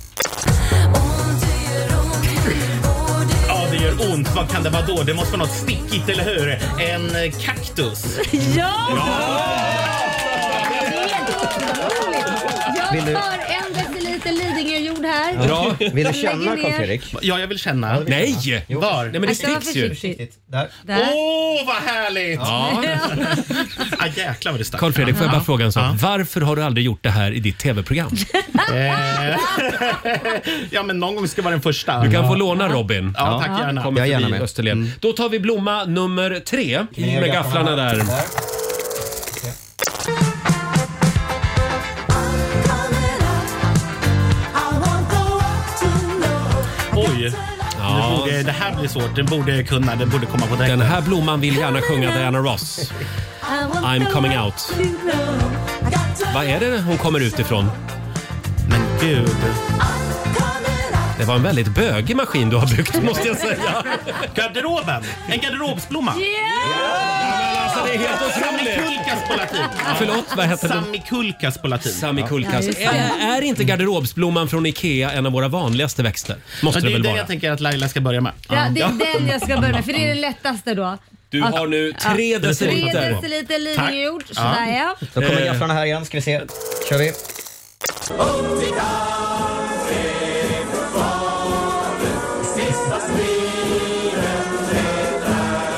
[SPEAKER 16] Ja, det gör ont. Vad kan det vara då? Det måste vara något stickigt, eller hur? En eh, kaktus.
[SPEAKER 2] Ja! Det är helt otroligt. Jag
[SPEAKER 8] Vill du-
[SPEAKER 2] tar en deciliter liten Lidingö-jord här.
[SPEAKER 16] Vill du
[SPEAKER 2] Lägger
[SPEAKER 16] känna,
[SPEAKER 2] ner.
[SPEAKER 16] Karl-Erik? Ja, jag vill känna.
[SPEAKER 1] Nej!
[SPEAKER 16] Var?
[SPEAKER 1] Nej, men det sticks ju.
[SPEAKER 16] Åh,
[SPEAKER 2] Där.
[SPEAKER 16] vad härligt!
[SPEAKER 1] Ja.
[SPEAKER 16] ah, jäklar vad det stack.
[SPEAKER 1] Carl Fredrik, får jag bara
[SPEAKER 16] Ja.
[SPEAKER 1] fråga en sak? Varför har du aldrig gjort det här i ditt tv-program?
[SPEAKER 16] Eh, ja, men någon gång ska vara den första.
[SPEAKER 1] Du kan få låna Robin.
[SPEAKER 16] Ja, tack gärna.
[SPEAKER 1] Kommer förbi Österlen.
[SPEAKER 8] Mm.
[SPEAKER 1] Då tar vi blomma nummer tre. In med gafflarna där.
[SPEAKER 16] Oj. Nu borde, det här blir svårt. Den borde jag kunna. Den borde komma på direkt. Den
[SPEAKER 1] här blomman vill gärna sjunga Diana Ross. I'm coming out. Vad är det hon kommer ut ifrån?
[SPEAKER 16] Men gud.
[SPEAKER 1] Det var en väldigt bögig maskin du har byggt måste jag säga.
[SPEAKER 16] Garderoben. En garderobsblomma.
[SPEAKER 1] Alltså, det är helt otroligt.
[SPEAKER 16] Samikulkas på latin.
[SPEAKER 1] Förlåt, vad heter det?
[SPEAKER 16] Samikulkas på latin.
[SPEAKER 1] Samikulkas.
[SPEAKER 16] Ja, just det.
[SPEAKER 1] är, är inte garderobsblomman från IKEA en av våra vanligaste växter? Måste
[SPEAKER 16] Men det
[SPEAKER 1] det,
[SPEAKER 16] är
[SPEAKER 1] väl
[SPEAKER 16] det
[SPEAKER 1] vara?
[SPEAKER 16] jag tänker att Laila ska börja med.
[SPEAKER 2] Ja, det är den jag ska börja med för det är det lättaste då.
[SPEAKER 1] Du har nu tre
[SPEAKER 2] Ja.
[SPEAKER 1] deciliter.
[SPEAKER 2] Tre deciliter Lidingö-jord. Sådär ja.
[SPEAKER 8] Då kommer
[SPEAKER 1] Eh.
[SPEAKER 8] gafflarna här igen, ska vi se. kör vi.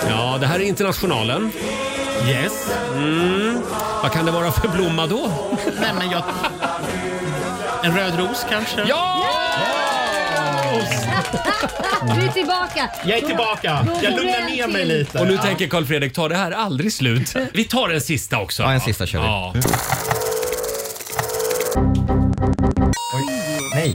[SPEAKER 1] Ja, det här är Internationalen.
[SPEAKER 16] Yes.
[SPEAKER 1] Mm. Vad kan det vara för blomma då?
[SPEAKER 16] Nej, men jag... En röd ros kanske?
[SPEAKER 1] Ja!
[SPEAKER 2] Du är tillbaka.
[SPEAKER 16] Jag är tillbaka.
[SPEAKER 2] Då- då
[SPEAKER 16] Jag
[SPEAKER 2] får du
[SPEAKER 16] lugnar
[SPEAKER 2] en
[SPEAKER 16] ner mig
[SPEAKER 2] till.
[SPEAKER 16] lite.
[SPEAKER 1] Mm. Och nu
[SPEAKER 16] Ja.
[SPEAKER 1] tänker Carl Fredrik, tar det här aldrig slut? Vi tar en sista också. Ja, en sista kör vi. Mm.
[SPEAKER 8] Nej.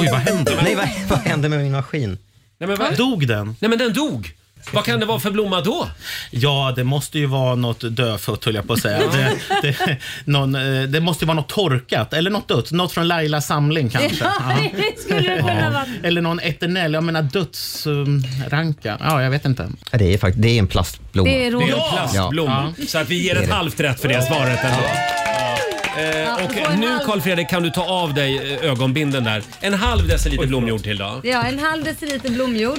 [SPEAKER 16] Oj, vad hände?
[SPEAKER 8] Nej, vad, vad hände med min maskin?
[SPEAKER 1] Nej, men vad?
[SPEAKER 16] Dog den?
[SPEAKER 1] Nej, men den dog. Vad kan det vara för blomma då?
[SPEAKER 16] Ja, det måste ju vara något dödfött höll jag på att säga. Det, det, någon, eh, det måste ju vara något torkat eller något dött. Något från Lailas samling kanske.
[SPEAKER 2] Ja,
[SPEAKER 16] Ja.
[SPEAKER 2] det skulle det kunna vara.
[SPEAKER 16] Eller någon eternell, jag menar dödsranka. Ja, jag vet inte.
[SPEAKER 8] Ja, det, är fakt- det är en plastblomma.
[SPEAKER 2] Det är
[SPEAKER 1] Det är en
[SPEAKER 2] Ja.
[SPEAKER 1] plastblomma. Så att vi ger ett halvt rätt för det svaret ändå. Ja. Eh, och nu Carl Fredrik kan du ta av dig eh, ögonbinden där. En halv deciliter blomjord till då.
[SPEAKER 2] Ja, en halv deciliter blomjord.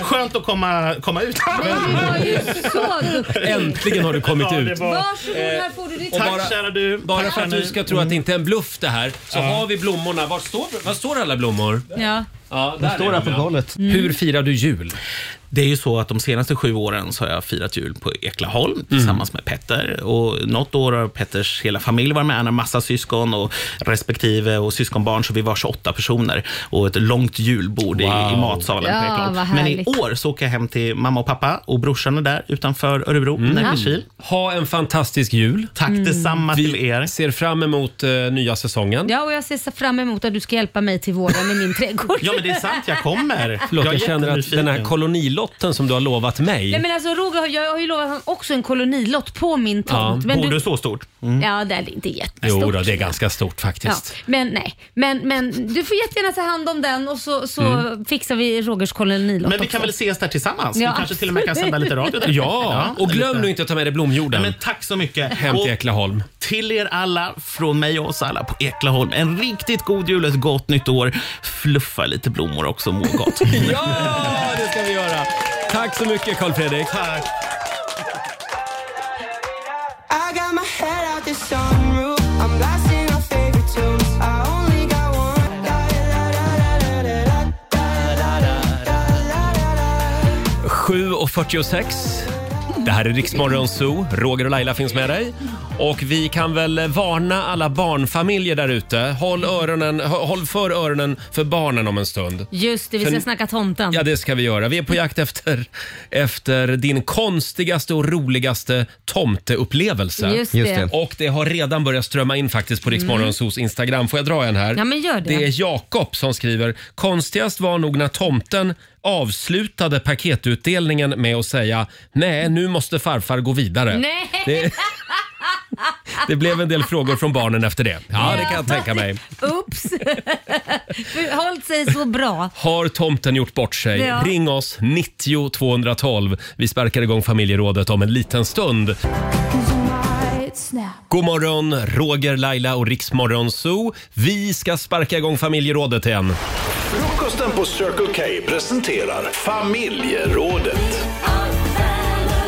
[SPEAKER 16] Skönt att komma, komma ut.
[SPEAKER 2] Så duktig.
[SPEAKER 1] Äntligen har du kommit
[SPEAKER 16] Ja, det
[SPEAKER 1] ut.
[SPEAKER 16] var-
[SPEAKER 2] Varsågod, här får du ditt
[SPEAKER 1] Och
[SPEAKER 16] Tack
[SPEAKER 1] bara-
[SPEAKER 16] kära du.
[SPEAKER 1] Bara
[SPEAKER 16] Tack,
[SPEAKER 1] för att
[SPEAKER 16] kära
[SPEAKER 1] du
[SPEAKER 16] ni.
[SPEAKER 1] ska tro att det inte är en bluff det här så har vi blommorna. Var står, var står alla blommor?
[SPEAKER 16] eh,
[SPEAKER 2] Ja.
[SPEAKER 1] Ja,
[SPEAKER 16] De står
[SPEAKER 1] är
[SPEAKER 16] där
[SPEAKER 1] de,
[SPEAKER 16] på
[SPEAKER 1] ja.
[SPEAKER 16] golvet.
[SPEAKER 1] Mm. Hur firar du jul?
[SPEAKER 16] Det är ju så att de senaste sju åren så har jag firat jul på
[SPEAKER 1] Mm.
[SPEAKER 16] Eklaholm tillsammans med Petter. Och något år har Petters hela familj varit med. Han har massa syskon och respektive och syskonbarn, så vi var 28 personer. Och ett långt julbord i, i matsalen
[SPEAKER 2] Ja,
[SPEAKER 16] på Eklaholm.
[SPEAKER 2] vad
[SPEAKER 16] Men i
[SPEAKER 2] härligt.
[SPEAKER 16] år så åker jag hem till mamma och pappa och brorsan är där utanför Örebro, Närkeskil.
[SPEAKER 1] Mm. Ha en fantastisk jul. Mm.
[SPEAKER 16] Tack detsamma
[SPEAKER 1] Vi
[SPEAKER 16] till er.
[SPEAKER 1] ser fram emot eh, nya säsongen.
[SPEAKER 2] Ja, och jag ser så fram emot att du ska hjälpa mig till våren i min trädgård.
[SPEAKER 16] Ja, men det är sant. Jag kommer.
[SPEAKER 1] Förlåt,
[SPEAKER 16] är
[SPEAKER 1] jag känner att
[SPEAKER 16] jättenyfiken.
[SPEAKER 1] den här kolonilotten som du har lovat mig.
[SPEAKER 2] Nej men alltså Roger, har- jag har ju lovat honom också en kolonilott på min
[SPEAKER 1] Ja, Mm.
[SPEAKER 2] tomt. men
[SPEAKER 1] borde
[SPEAKER 16] så stort?
[SPEAKER 2] Ja, det är inte jättestort.
[SPEAKER 1] Jo då, det är ganska stort
[SPEAKER 2] Ja,
[SPEAKER 1] faktiskt.
[SPEAKER 2] men nej, men, men du får jättegärna ta hand om den och så, så
[SPEAKER 1] Mm.
[SPEAKER 2] fixar vi Rogers kolonilott
[SPEAKER 16] Men vi
[SPEAKER 2] också.
[SPEAKER 16] kan väl ses där tillsammans?
[SPEAKER 2] Ja,
[SPEAKER 16] vi kanske till och med kan
[SPEAKER 2] absolut.
[SPEAKER 16] sända lite radio där.
[SPEAKER 1] Ja, och glöm nu inte att ta med dig blomjorden.
[SPEAKER 16] Men tack så mycket.
[SPEAKER 1] Hem till
[SPEAKER 16] Och-
[SPEAKER 1] Eklaholm.
[SPEAKER 16] Till er alla, från mig och oss alla på Eklaholm, en riktigt god jul, ett gott nytt år. Fluffa lite blommor också, må gott.
[SPEAKER 1] Ja, det ska vi göra. Tack så mycket Carl Fredrik.
[SPEAKER 16] Tack.
[SPEAKER 9] I got my head out the sunroof. I'm blasting my favorite tunes. I only got one. Da-da-da-da-da-da-da. Da-da-da-da-da-da.
[SPEAKER 1] 7.46. Det här är Riksmorgon Zoo. Roger och Laila finns med dig. Och vi kan väl varna alla barnfamiljer där ute. Håll, öronen, hå- håll för öronen för barnen om en stund.
[SPEAKER 2] Just det, vi
[SPEAKER 1] För-
[SPEAKER 2] ska snacka tomten.
[SPEAKER 1] Ja, det ska vi göra. Vi är på jakt efter, efter din konstigaste och roligaste tomteupplevelse.
[SPEAKER 2] Just det. Just det.
[SPEAKER 1] Och det har redan börjat strömma in faktiskt på Rix
[SPEAKER 2] Mm.
[SPEAKER 1] Morgonzoos Instagram. Får jag dra en här?
[SPEAKER 2] Ja, men gör det.
[SPEAKER 1] Det är Jakob som skriver. Konstigast var nog när tomten avslutade paketutdelningen med att säga nej, nu måste farfar gå vidare.
[SPEAKER 2] Nej!
[SPEAKER 1] Det, det blev en del frågor från barnen efter det. Ja, det kan jag tänka mig.
[SPEAKER 2] Oops! Förhållt sig så bra.
[SPEAKER 1] Har tomten gjort bort sig?
[SPEAKER 2] Ja.
[SPEAKER 1] Ring oss, 90 212. Vi sparkar igång familjerådet om en liten stund. God morgon, Roger, Laila och Riksmorgon Zoo. Vi ska sparka igång familjerådet igen.
[SPEAKER 17] Frukosten på Circle K presenterar familjerådet.
[SPEAKER 1] Ja,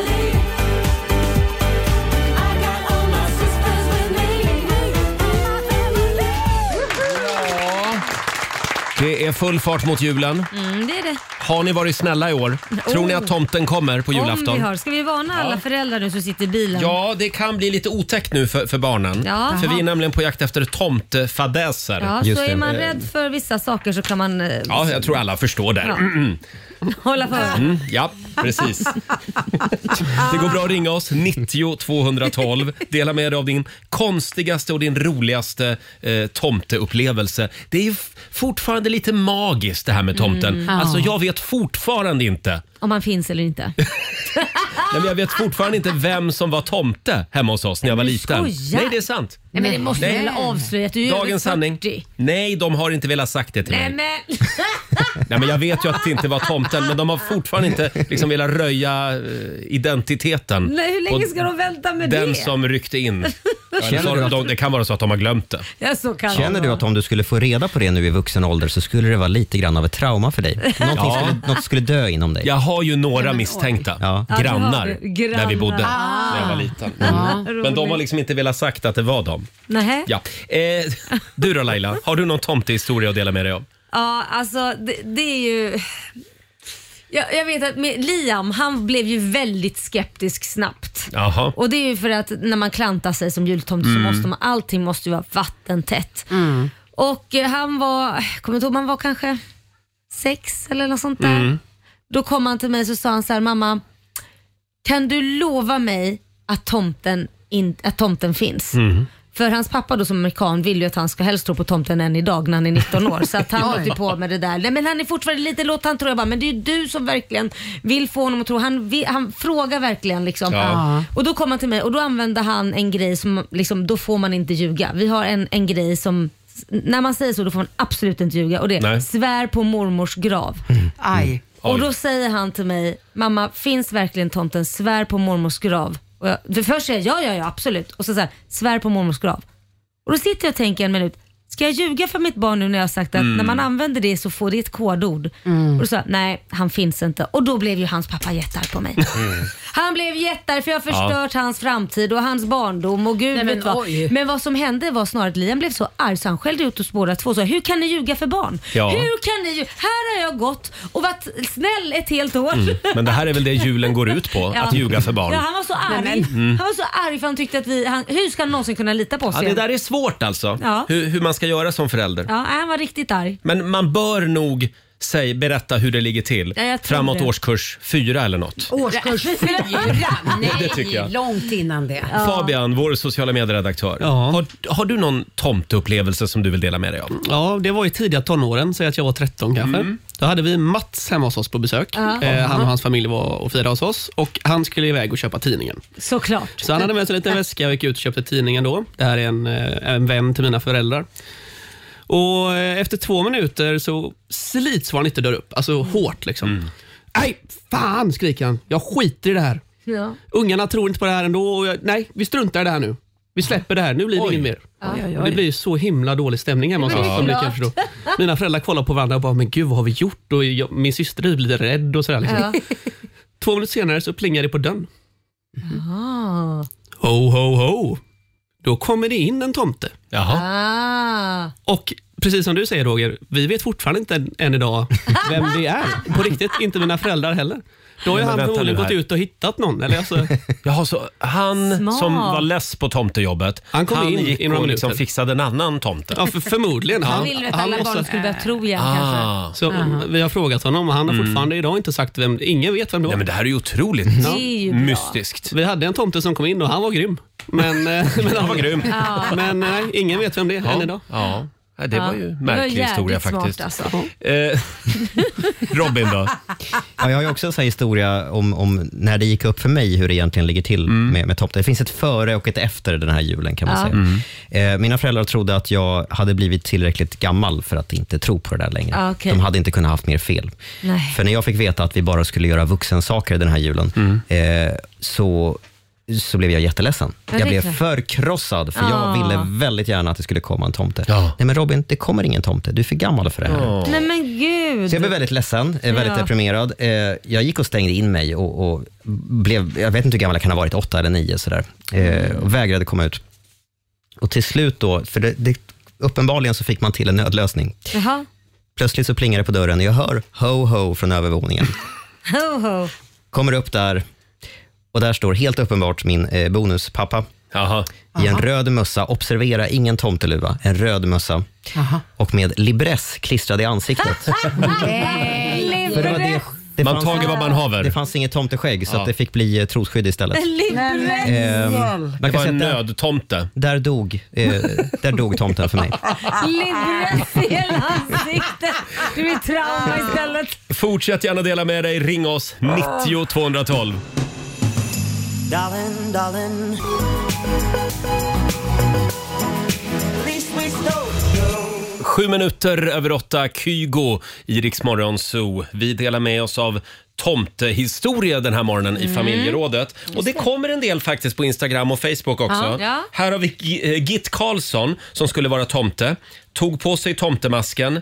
[SPEAKER 1] Det är full fart mot julen.
[SPEAKER 2] Mm, det är det.
[SPEAKER 1] Har ni varit snälla i år? Tror ni att tomten kommer på julafton?
[SPEAKER 2] Oh. Om vi har. Ska vi varna alla föräldrar nu som sitter i bilen?
[SPEAKER 1] Ja, det kan bli lite otäckt nu för, för barnen.
[SPEAKER 2] Ja.
[SPEAKER 1] För vi är nämligen på jakt efter tomtefadäser.
[SPEAKER 2] Ja, så är man rädd för vissa saker så kan man eh,
[SPEAKER 1] Ja, jag tror alla förstår där.
[SPEAKER 2] Ja.
[SPEAKER 1] Mm.
[SPEAKER 2] hålla för
[SPEAKER 1] Mm, ja, precis. Det går bra att ringa oss, 90 212. Dela med dig av din konstigaste och din roligaste eh, tomteupplevelse. Det är ju f- fortfarande lite magiskt det här med tomten.
[SPEAKER 2] Mm.
[SPEAKER 1] Alltså,
[SPEAKER 2] Ja.
[SPEAKER 1] jag vet fortfarande inte.
[SPEAKER 2] om man finns eller inte.
[SPEAKER 1] Nej, men jag vet fortfarande inte vem som var tomte hemma hos oss när jag var liten.
[SPEAKER 2] skojar.
[SPEAKER 1] Nej, det är sant.
[SPEAKER 2] Nej
[SPEAKER 8] Mm.
[SPEAKER 2] men det måste
[SPEAKER 1] Nej.
[SPEAKER 2] väl avslöja att du är över
[SPEAKER 1] Dagens sanning.
[SPEAKER 2] 40.
[SPEAKER 1] Nej, de har inte velat sagt det till
[SPEAKER 2] Nej
[SPEAKER 1] mig.
[SPEAKER 2] men
[SPEAKER 1] Nej, men jag vet ju att det inte var tomten, men de har fortfarande inte liksom velat röja eh, identiteten.
[SPEAKER 2] Nej, hur länge
[SPEAKER 1] Och
[SPEAKER 2] ska de vänta med
[SPEAKER 1] Den
[SPEAKER 2] det?
[SPEAKER 1] som ryckte in. Eller så
[SPEAKER 8] Känner
[SPEAKER 1] har
[SPEAKER 8] du
[SPEAKER 1] de,
[SPEAKER 8] att-
[SPEAKER 1] de, det kan vara så att de har glömt det.
[SPEAKER 2] Ja, så kan det
[SPEAKER 8] Känner du
[SPEAKER 2] vara.
[SPEAKER 8] att om du skulle få reda på det nu i vuxen ålder så skulle det vara lite grann av ett trauma för dig? Någonting
[SPEAKER 1] Ja.
[SPEAKER 8] skulle, något skulle dö inom dig?
[SPEAKER 1] Jag har ju några misstänkta
[SPEAKER 2] Ja, du har
[SPEAKER 1] grannar,
[SPEAKER 2] det. Grannar.
[SPEAKER 1] där vi bodde
[SPEAKER 2] Ah.
[SPEAKER 1] när jag var liten.
[SPEAKER 2] Ja,
[SPEAKER 1] Men de har
[SPEAKER 2] roligt.
[SPEAKER 1] liksom inte velat sagt att det var dem.
[SPEAKER 2] Nähä.
[SPEAKER 1] Ja. Eh, du då Laila, har du någon tomtehistoria att dela med dig av?
[SPEAKER 2] Ja, alltså det, det är ju... Jag, jag vet att med Liam, han blev ju väldigt skeptisk snabbt.
[SPEAKER 1] Jaha.
[SPEAKER 2] Och det är ju för att när man klantar sig som jultomte
[SPEAKER 1] Mm.
[SPEAKER 2] så måste man, allting måste ju vara vattentätt. Och eh, han var, kommer inte ihåg, man var kanske sex eller något sånt där.
[SPEAKER 7] Mm.
[SPEAKER 2] Då kom han till mig så sa han så här, mamma, kan du lova mig att tomten, in, att tomten finns?
[SPEAKER 7] Mm.
[SPEAKER 8] Mm.
[SPEAKER 2] För hans pappa då som amerikan vill ju att han ska helst tro på tomten än idag när han är 19 år. Så att han
[SPEAKER 7] Oj.
[SPEAKER 2] håller på med det där. Nej, men han är fortfarande lite låt han tror jag bara, men det är ju du som verkligen vill få honom att tro. Han, vi- han frågar verkligen liksom.
[SPEAKER 7] Ja.
[SPEAKER 2] Och då kom han till mig och då använde han en grej som, liksom, då får man inte ljuga. Vi har en, en grej som när man säger så då får man absolut inte ljuga och det är
[SPEAKER 7] Nej. Mm.
[SPEAKER 2] svär på mormors grav.
[SPEAKER 7] Aj.
[SPEAKER 2] Och då säger han till mig, mamma finns verkligen tomten? Svär på mormors grav. Och jag, för först säger jag ja, ja, ja, absolut. Och så säger svär på mormors grav. Och då sitter jag och tänker en minut, ska jag ljuga för mitt barn nu när jag har sagt att
[SPEAKER 7] Mm.
[SPEAKER 2] när man använder det så får det ett kodord? Och då sa jag, nej han finns inte. Och då blev ju hans pappa jättearg på mig.
[SPEAKER 8] Mm.
[SPEAKER 2] Han blev jättearg för jag har förstört hans framtid och hans barndom och gud
[SPEAKER 6] Nej, men
[SPEAKER 2] vet vad.
[SPEAKER 6] oj.
[SPEAKER 2] Men vad som hände var snarare att Liam blev så arg så han skällde ut oss båda två och sa, hur kan ni ljuga för barn?
[SPEAKER 1] Ja.
[SPEAKER 2] Hur kan ni ljuga? Här har jag gått och varit snäll ett helt år.
[SPEAKER 1] Mm. Men det här är väl det julen går ut på,
[SPEAKER 2] Ja.
[SPEAKER 1] att ljuga för barn.
[SPEAKER 2] Ja, han var så arg.
[SPEAKER 1] Mm.
[SPEAKER 2] Han var så arg för han tyckte att vi, han, hur ska han någonsin kunna lita på oss
[SPEAKER 1] Ja, det
[SPEAKER 2] igen?
[SPEAKER 1] där är svårt alltså,
[SPEAKER 2] Ja.
[SPEAKER 1] hur, hur man ska göra som förälder.
[SPEAKER 2] Ja, han var riktigt arg.
[SPEAKER 1] Men man bör nog säg, berätta hur det ligger till
[SPEAKER 2] Ja, jag tror
[SPEAKER 1] framåt
[SPEAKER 2] det.
[SPEAKER 1] årskurs fyra eller något.
[SPEAKER 6] Årskurs fyra? Nej,
[SPEAKER 1] Det tycker jag.
[SPEAKER 6] långt innan det.
[SPEAKER 1] Fabian, vår sociala medieredaktör. Har, har du någon tomteupplevelse som du vill dela med dig av?
[SPEAKER 11] Ja, det var i tidiga tonåren, säg att jag var 13 kanske.
[SPEAKER 1] Mm.
[SPEAKER 11] Då hade vi Mats hemma hos oss på besök.
[SPEAKER 2] Ja.
[SPEAKER 11] Eh, han och hans familj var och firade hos oss och han skulle iväg och köpa tidningen.
[SPEAKER 2] Såklart.
[SPEAKER 11] Så han hade med sig en liten väska och gick ut och köpte tidningen då. Det här är en, eh, en vän till mina föräldrar. Och eh, efter två minuter så slits var han inte dörr upp, alltså hårt
[SPEAKER 1] Mm.
[SPEAKER 11] liksom. Nej, fan skriker han. Jag skiter i det här.
[SPEAKER 2] Ja.
[SPEAKER 11] Ungarna tror inte på det här ändå. Och jag, nej, vi struntar i det här nu. Vi släpper det här. Nu blir det inget mer. Och det blir ju så himla dålig stämning hemma hos
[SPEAKER 7] Det
[SPEAKER 11] oss.
[SPEAKER 7] blir
[SPEAKER 11] som ni
[SPEAKER 7] klart.
[SPEAKER 11] kan förstå. Mina föräldrar kollar på varandra och bara, men gud vad har vi gjort? Och jag, min syster blir lite rädd och sådär. Liksom. Två minuter senare så plingar det på dörren.
[SPEAKER 2] Jaha.
[SPEAKER 11] Ho, ho, ho. Då kommer det in en tomte.
[SPEAKER 2] Ah.
[SPEAKER 11] Och precis som du säger Roger, vi vet fortfarande inte än, än idag vem det är. På riktigt, inte mina föräldrar heller. Då har
[SPEAKER 1] Nej,
[SPEAKER 11] ju
[SPEAKER 1] men
[SPEAKER 11] han
[SPEAKER 1] vänta
[SPEAKER 11] förmodligen
[SPEAKER 1] nu
[SPEAKER 11] gått
[SPEAKER 1] här.
[SPEAKER 11] ut och hittat någon. Eller alltså,
[SPEAKER 1] Jaha, så han
[SPEAKER 11] Smart.
[SPEAKER 1] som var less på tomtejobbet, han,
[SPEAKER 11] kom in
[SPEAKER 1] gick
[SPEAKER 11] i några
[SPEAKER 1] och liksom
[SPEAKER 11] minuter.
[SPEAKER 1] fixade en annan tomte?
[SPEAKER 11] ja, för, förmodligen.
[SPEAKER 2] Han ville väl att alla barn skulle börja tro igen
[SPEAKER 1] Ah.
[SPEAKER 2] kanske.
[SPEAKER 11] Så vi har frågat honom och han har fortfarande idag inte sagt vem, ingen vet vem det var. Nej, men
[SPEAKER 1] Mm. det här är ju otroligt
[SPEAKER 2] Det är ju bra.
[SPEAKER 1] mystiskt.
[SPEAKER 11] Vi hade en tomte som kom in och han var grym. Men, eh, men
[SPEAKER 1] Han var grym.
[SPEAKER 2] Ja.
[SPEAKER 11] Men nej, ingen vet vem det är än idag.
[SPEAKER 1] Ja. Ja, det var ju en
[SPEAKER 11] Ja.
[SPEAKER 1] märklig
[SPEAKER 11] Det var
[SPEAKER 1] historia
[SPEAKER 11] jävligt
[SPEAKER 1] faktiskt.
[SPEAKER 2] alltså.
[SPEAKER 11] smart,
[SPEAKER 1] Eh, Robin då?
[SPEAKER 8] Ja, jag har ju också en sån här historia om, om när det gick upp för mig hur det egentligen ligger till
[SPEAKER 1] Mm.
[SPEAKER 8] med, med tomten. Det finns ett före och ett efter den här julen kan man
[SPEAKER 18] Ja.
[SPEAKER 8] säga.
[SPEAKER 18] Mm.
[SPEAKER 8] Eh, mina föräldrar trodde att jag hade blivit tillräckligt gammal för att inte tro på det där längre.
[SPEAKER 18] Ah, okej.
[SPEAKER 8] De hade inte kunnat haft mer fel.
[SPEAKER 18] Nej.
[SPEAKER 8] För när jag fick veta att vi bara skulle göra vuxensaker den här julen, eh, så, så blev jag jätteledsen.
[SPEAKER 18] Ja, det
[SPEAKER 8] jag
[SPEAKER 18] är
[SPEAKER 8] blev
[SPEAKER 18] klart.
[SPEAKER 8] förkrossad, för
[SPEAKER 2] Ah.
[SPEAKER 8] jag ville väldigt gärna att det skulle komma en tomte. Nej men Robin, det kommer ingen tomte. Du är för gammal för det här.
[SPEAKER 2] Nej men gud.
[SPEAKER 8] Så jag blev väldigt ledsen, eh, väldigt
[SPEAKER 2] Ja.
[SPEAKER 8] deprimerad. Eh, Jag gick och stängde in mig och, och blev, jag vet inte hur gammal jag kan ha varit, åtta eller nio sådär. Eh, Och vägrade komma ut. Och till slut då, för det, det, uppenbarligen så fick man till en nödlösning.
[SPEAKER 2] Jaha.
[SPEAKER 8] Plötsligt så plingar det på dörren och jag hör ho-ho från övervåningen.
[SPEAKER 2] Ho, ho.
[SPEAKER 8] Kommer upp där och där står helt uppenbart min eh, bonuspappa i en
[SPEAKER 2] Aha.
[SPEAKER 8] röd mössa. Observera, ingen tomteluva. En röd mössa
[SPEAKER 2] Aha.
[SPEAKER 8] och med libress klistrad i ansiktet.
[SPEAKER 2] Nej.
[SPEAKER 8] För det var det, det
[SPEAKER 1] Man tager vad man haver.
[SPEAKER 8] Det fanns inget tomteskägg, så
[SPEAKER 1] Ja.
[SPEAKER 8] att det fick bli eh, trosskydd istället. Ehm, man
[SPEAKER 1] Det var
[SPEAKER 8] kan säga
[SPEAKER 1] en
[SPEAKER 8] att där-
[SPEAKER 1] nödtomte.
[SPEAKER 8] Där dog, eh, där dog tomten för mig.
[SPEAKER 2] Livress i hela ansiktet. Du blir trauma istället.
[SPEAKER 1] Fortsätt gärna dela med dig. Ring oss, 90 212.
[SPEAKER 9] Darling, darling. At least we stole your
[SPEAKER 1] Sju minuter över åtta, Kygo i Rix Morgon Zoo. Vi delar med oss av tomtehistoria den här morgonen i
[SPEAKER 11] Mm.
[SPEAKER 1] familjerådet. Och det kommer en del faktiskt på Instagram och Facebook också.
[SPEAKER 11] Ja, ja.
[SPEAKER 1] Här har vi G- eh, Git Karlsson som skulle vara tomte. Tog på sig tomtemasken,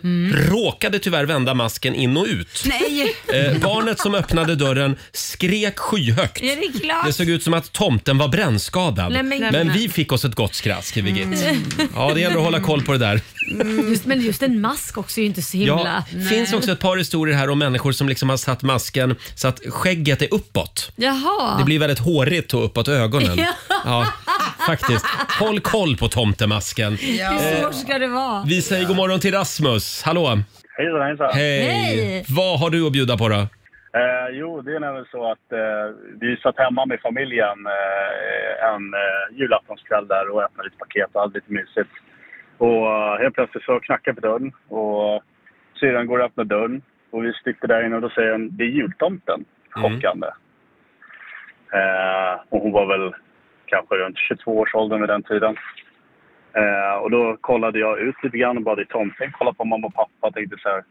[SPEAKER 1] råkade tyvärr vända masken in och ut.
[SPEAKER 2] Nej.
[SPEAKER 1] Eh, barnet som öppnade dörren skrek skyhögt.
[SPEAKER 2] Är det klart?
[SPEAKER 1] Det såg ut som att tomten var brännskadad.
[SPEAKER 2] Nej, men-
[SPEAKER 1] men vi fick oss ett gott skratt, skriver Git.
[SPEAKER 2] Mm.
[SPEAKER 1] Ja, det gäller att hålla koll på det där.
[SPEAKER 2] Mm, just, men just en mask också är ju inte så
[SPEAKER 1] Ja,
[SPEAKER 2] himla...
[SPEAKER 1] det finns också ett par historier här om människor som liksom har satt masken så att skägget är uppåt.
[SPEAKER 2] Jaha.
[SPEAKER 1] Det blir väldigt hårigt och uppåt ögonen.
[SPEAKER 2] Ja.
[SPEAKER 1] Ja, faktiskt. Håll koll på tomtemasken.
[SPEAKER 2] Hur
[SPEAKER 1] Eh,
[SPEAKER 2] svårt ska det vara?
[SPEAKER 1] vi säger god morgon till Rasmus. Hallå!
[SPEAKER 18] Hejsan, hejsan.
[SPEAKER 1] Hej!
[SPEAKER 2] Hej.
[SPEAKER 1] Vad har du att bjuda på då?
[SPEAKER 18] Eh, jo, det är nämligen så att eh, vi satt hemma med familjen eh, en eh, julaftonskväll där och öppnade lite paket och hade lite mysigt. Och eh, helt plötsligt så knackar på dörren och eh, syrran går och öppnar dörren och vi sticker där inne och då säger hon det är jultomten. Chockande. Eh, och hon var väl kanske runt 22 års ålder vid den tiden. Eh, och då kollade jag ut lite grann och bara det är tomten. Kollade på mamma och pappa och tänkte så här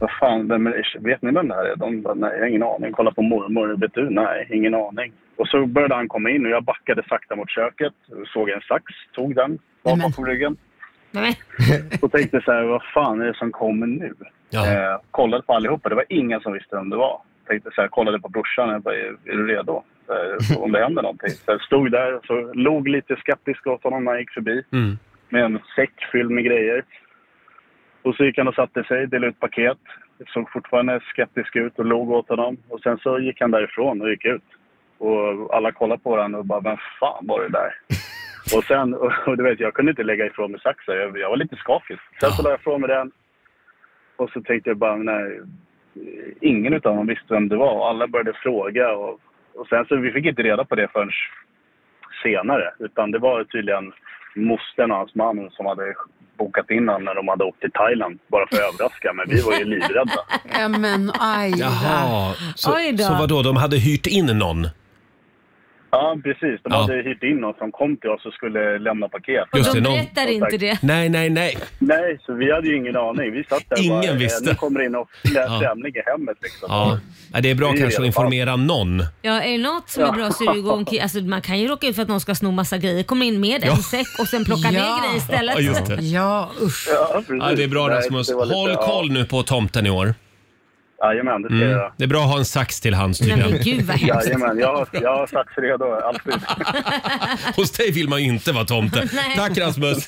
[SPEAKER 18] vad fan, vem är det? vet ni vem det här är? De bara, nej, jag har ingen aning. Kolla på mormor, vet du? Nej, ingen aning. Och så började han komma in och jag backade sakta mot köket, såg en sax, tog den bakom ryggen. Och tänkte så här, vad fan är det som kommer nu? Eh, kollade på allihopa, det var ingen som visste vem det var. Tänkte så här, kollade på brorsan, jag bara, är är du redo? Så här, om det händer någonting. Så jag stod där, så log lite skeptisk åt honom när han gick förbi
[SPEAKER 8] Mm.
[SPEAKER 18] med en säck fylld med grejer. Och så gick han och satte sig, delade ut paket. Såg fortfarande skeptisk ut och låg åt honom. Och sen så gick han därifrån och gick ut. Och alla kollade på honom och bara, vem fan var det där? och sen, och du vet, jag kunde inte lägga ifrån mig saxen. Jag, jag var lite skakig. Sen så la jag ifrån mig den. Och så tänkte jag bara, nej, ingen utav dem visste vem det var. Och Alla började fråga. Och, och sen så, vi fick inte reda på det förrän senare. Utan det var tydligen mostern och hans man som hade bokat in honom när de hade åkt till Thailand bara för att överraska. Men vi var ju livrädda.
[SPEAKER 6] Ja, men aj.
[SPEAKER 1] Jaha, så,
[SPEAKER 6] Oj då.
[SPEAKER 1] Ah. så vadå, de hade hyrt in någon?
[SPEAKER 18] Ja, precis. De
[SPEAKER 1] Ja.
[SPEAKER 18] hade hyrt in någon som kom till oss och skulle lämna paket.
[SPEAKER 1] Just det, någon- Nej, nej, nej.
[SPEAKER 18] Nej, så vi hade ju ingen aning. Vi satt där och
[SPEAKER 1] Ingen
[SPEAKER 18] bara, eh,
[SPEAKER 1] visste.
[SPEAKER 18] Nu kommer det in och lät
[SPEAKER 1] Ja.
[SPEAKER 18] främling i hemmet liksom.
[SPEAKER 1] Ja. Nej, Det är bra
[SPEAKER 18] Det är
[SPEAKER 1] kanske
[SPEAKER 18] i
[SPEAKER 1] att
[SPEAKER 18] alla
[SPEAKER 1] informera någon.
[SPEAKER 2] Ja, är det något som är
[SPEAKER 18] Ja.
[SPEAKER 2] bra så är det ju gå omkring. Alltså, man kan ju råka ut för att någon ska sno massa grejer. Komma in med en
[SPEAKER 1] Ja.
[SPEAKER 2] säck och sen plocka
[SPEAKER 6] Ja.
[SPEAKER 2] ner grejer istället.
[SPEAKER 1] Ja, just det.
[SPEAKER 6] Ja, usch.
[SPEAKER 18] Ja,
[SPEAKER 1] Ja, det är bra Rasmus. Håll koll nu på tomten i år. Mm.
[SPEAKER 18] Jajamän, det ska jag göra.
[SPEAKER 1] Det är bra att ha en sax till hands tydligen.
[SPEAKER 2] men gud vad hemskt.
[SPEAKER 18] Jajamän, jag, har- jag har satt redo alltid.
[SPEAKER 1] Hos dig vill man ju inte vara tomte.
[SPEAKER 2] Nej.
[SPEAKER 1] Tack Rasmus.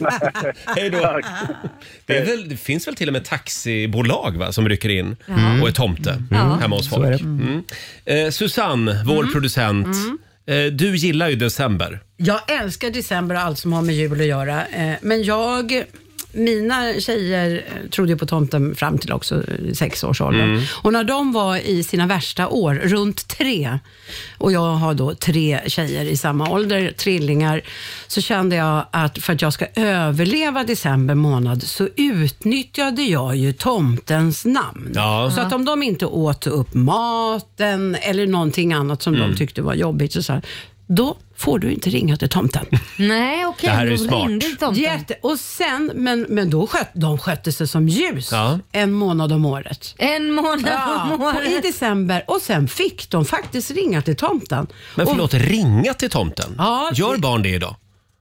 [SPEAKER 1] Hej då. Det, är väl, det finns väl till och med taxibolag va, som rycker in
[SPEAKER 2] Ja. Mm.
[SPEAKER 1] och är tomte
[SPEAKER 2] Ja.
[SPEAKER 1] hemma hos
[SPEAKER 2] Så
[SPEAKER 1] folk.
[SPEAKER 2] är det. Mm.
[SPEAKER 1] Mm. Eh, Susanne, vår producent. Eh, du gillar ju december.
[SPEAKER 6] Jag älskar december och allt som har med jul att göra. eh, Men jag, mina tjejer eh, trodde ju på tomten fram till också eh, sexårsåldern.
[SPEAKER 19] Mm.
[SPEAKER 6] Och när de var i sina värsta år, runt tre, och jag har då tre tjejer i samma ålder, trillingar, så kände jag att för att jag ska överleva december månad så utnyttjade jag ju tomtens namn.
[SPEAKER 1] Ja.
[SPEAKER 6] Så att om de inte åt upp maten eller någonting annat som
[SPEAKER 2] Mm.
[SPEAKER 6] de tyckte var jobbigt, så, så här, då får du inte ringa till tomten.
[SPEAKER 2] Nej, okej.
[SPEAKER 6] Det här är
[SPEAKER 2] då
[SPEAKER 6] ju smart.
[SPEAKER 2] ringde inte tomten.
[SPEAKER 6] Jätte, och sen, men, men då sköt, de skötte sig som ljus
[SPEAKER 1] Ja.
[SPEAKER 6] en månad om året.
[SPEAKER 2] En månad
[SPEAKER 6] Ja,
[SPEAKER 2] om året.
[SPEAKER 6] och I december. Och sen fick de faktiskt ringa till tomten.
[SPEAKER 1] Men
[SPEAKER 2] Oh.
[SPEAKER 6] och,
[SPEAKER 1] förlåt, ringa till tomten.
[SPEAKER 6] Ja,
[SPEAKER 1] Gör
[SPEAKER 6] det-
[SPEAKER 1] barn det idag?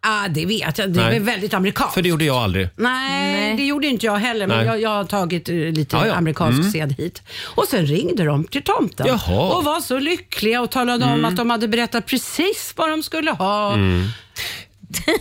[SPEAKER 6] Ah, det vet jag, det
[SPEAKER 1] Nej.
[SPEAKER 6] är väldigt amerikanskt.
[SPEAKER 1] För det gjorde jag aldrig.
[SPEAKER 6] Nej, det gjorde inte jag heller, men
[SPEAKER 1] Nej.
[SPEAKER 6] jag, jag har tagit eh, lite
[SPEAKER 1] Ja, ja.
[SPEAKER 6] amerikansk
[SPEAKER 1] Mm.
[SPEAKER 6] sed hit. Och sen ringde de till tomten
[SPEAKER 1] Jaha.
[SPEAKER 6] och var så lyckliga och talade om
[SPEAKER 1] Mm.
[SPEAKER 6] att de hade berättat precis vad de skulle ha.
[SPEAKER 1] Mm.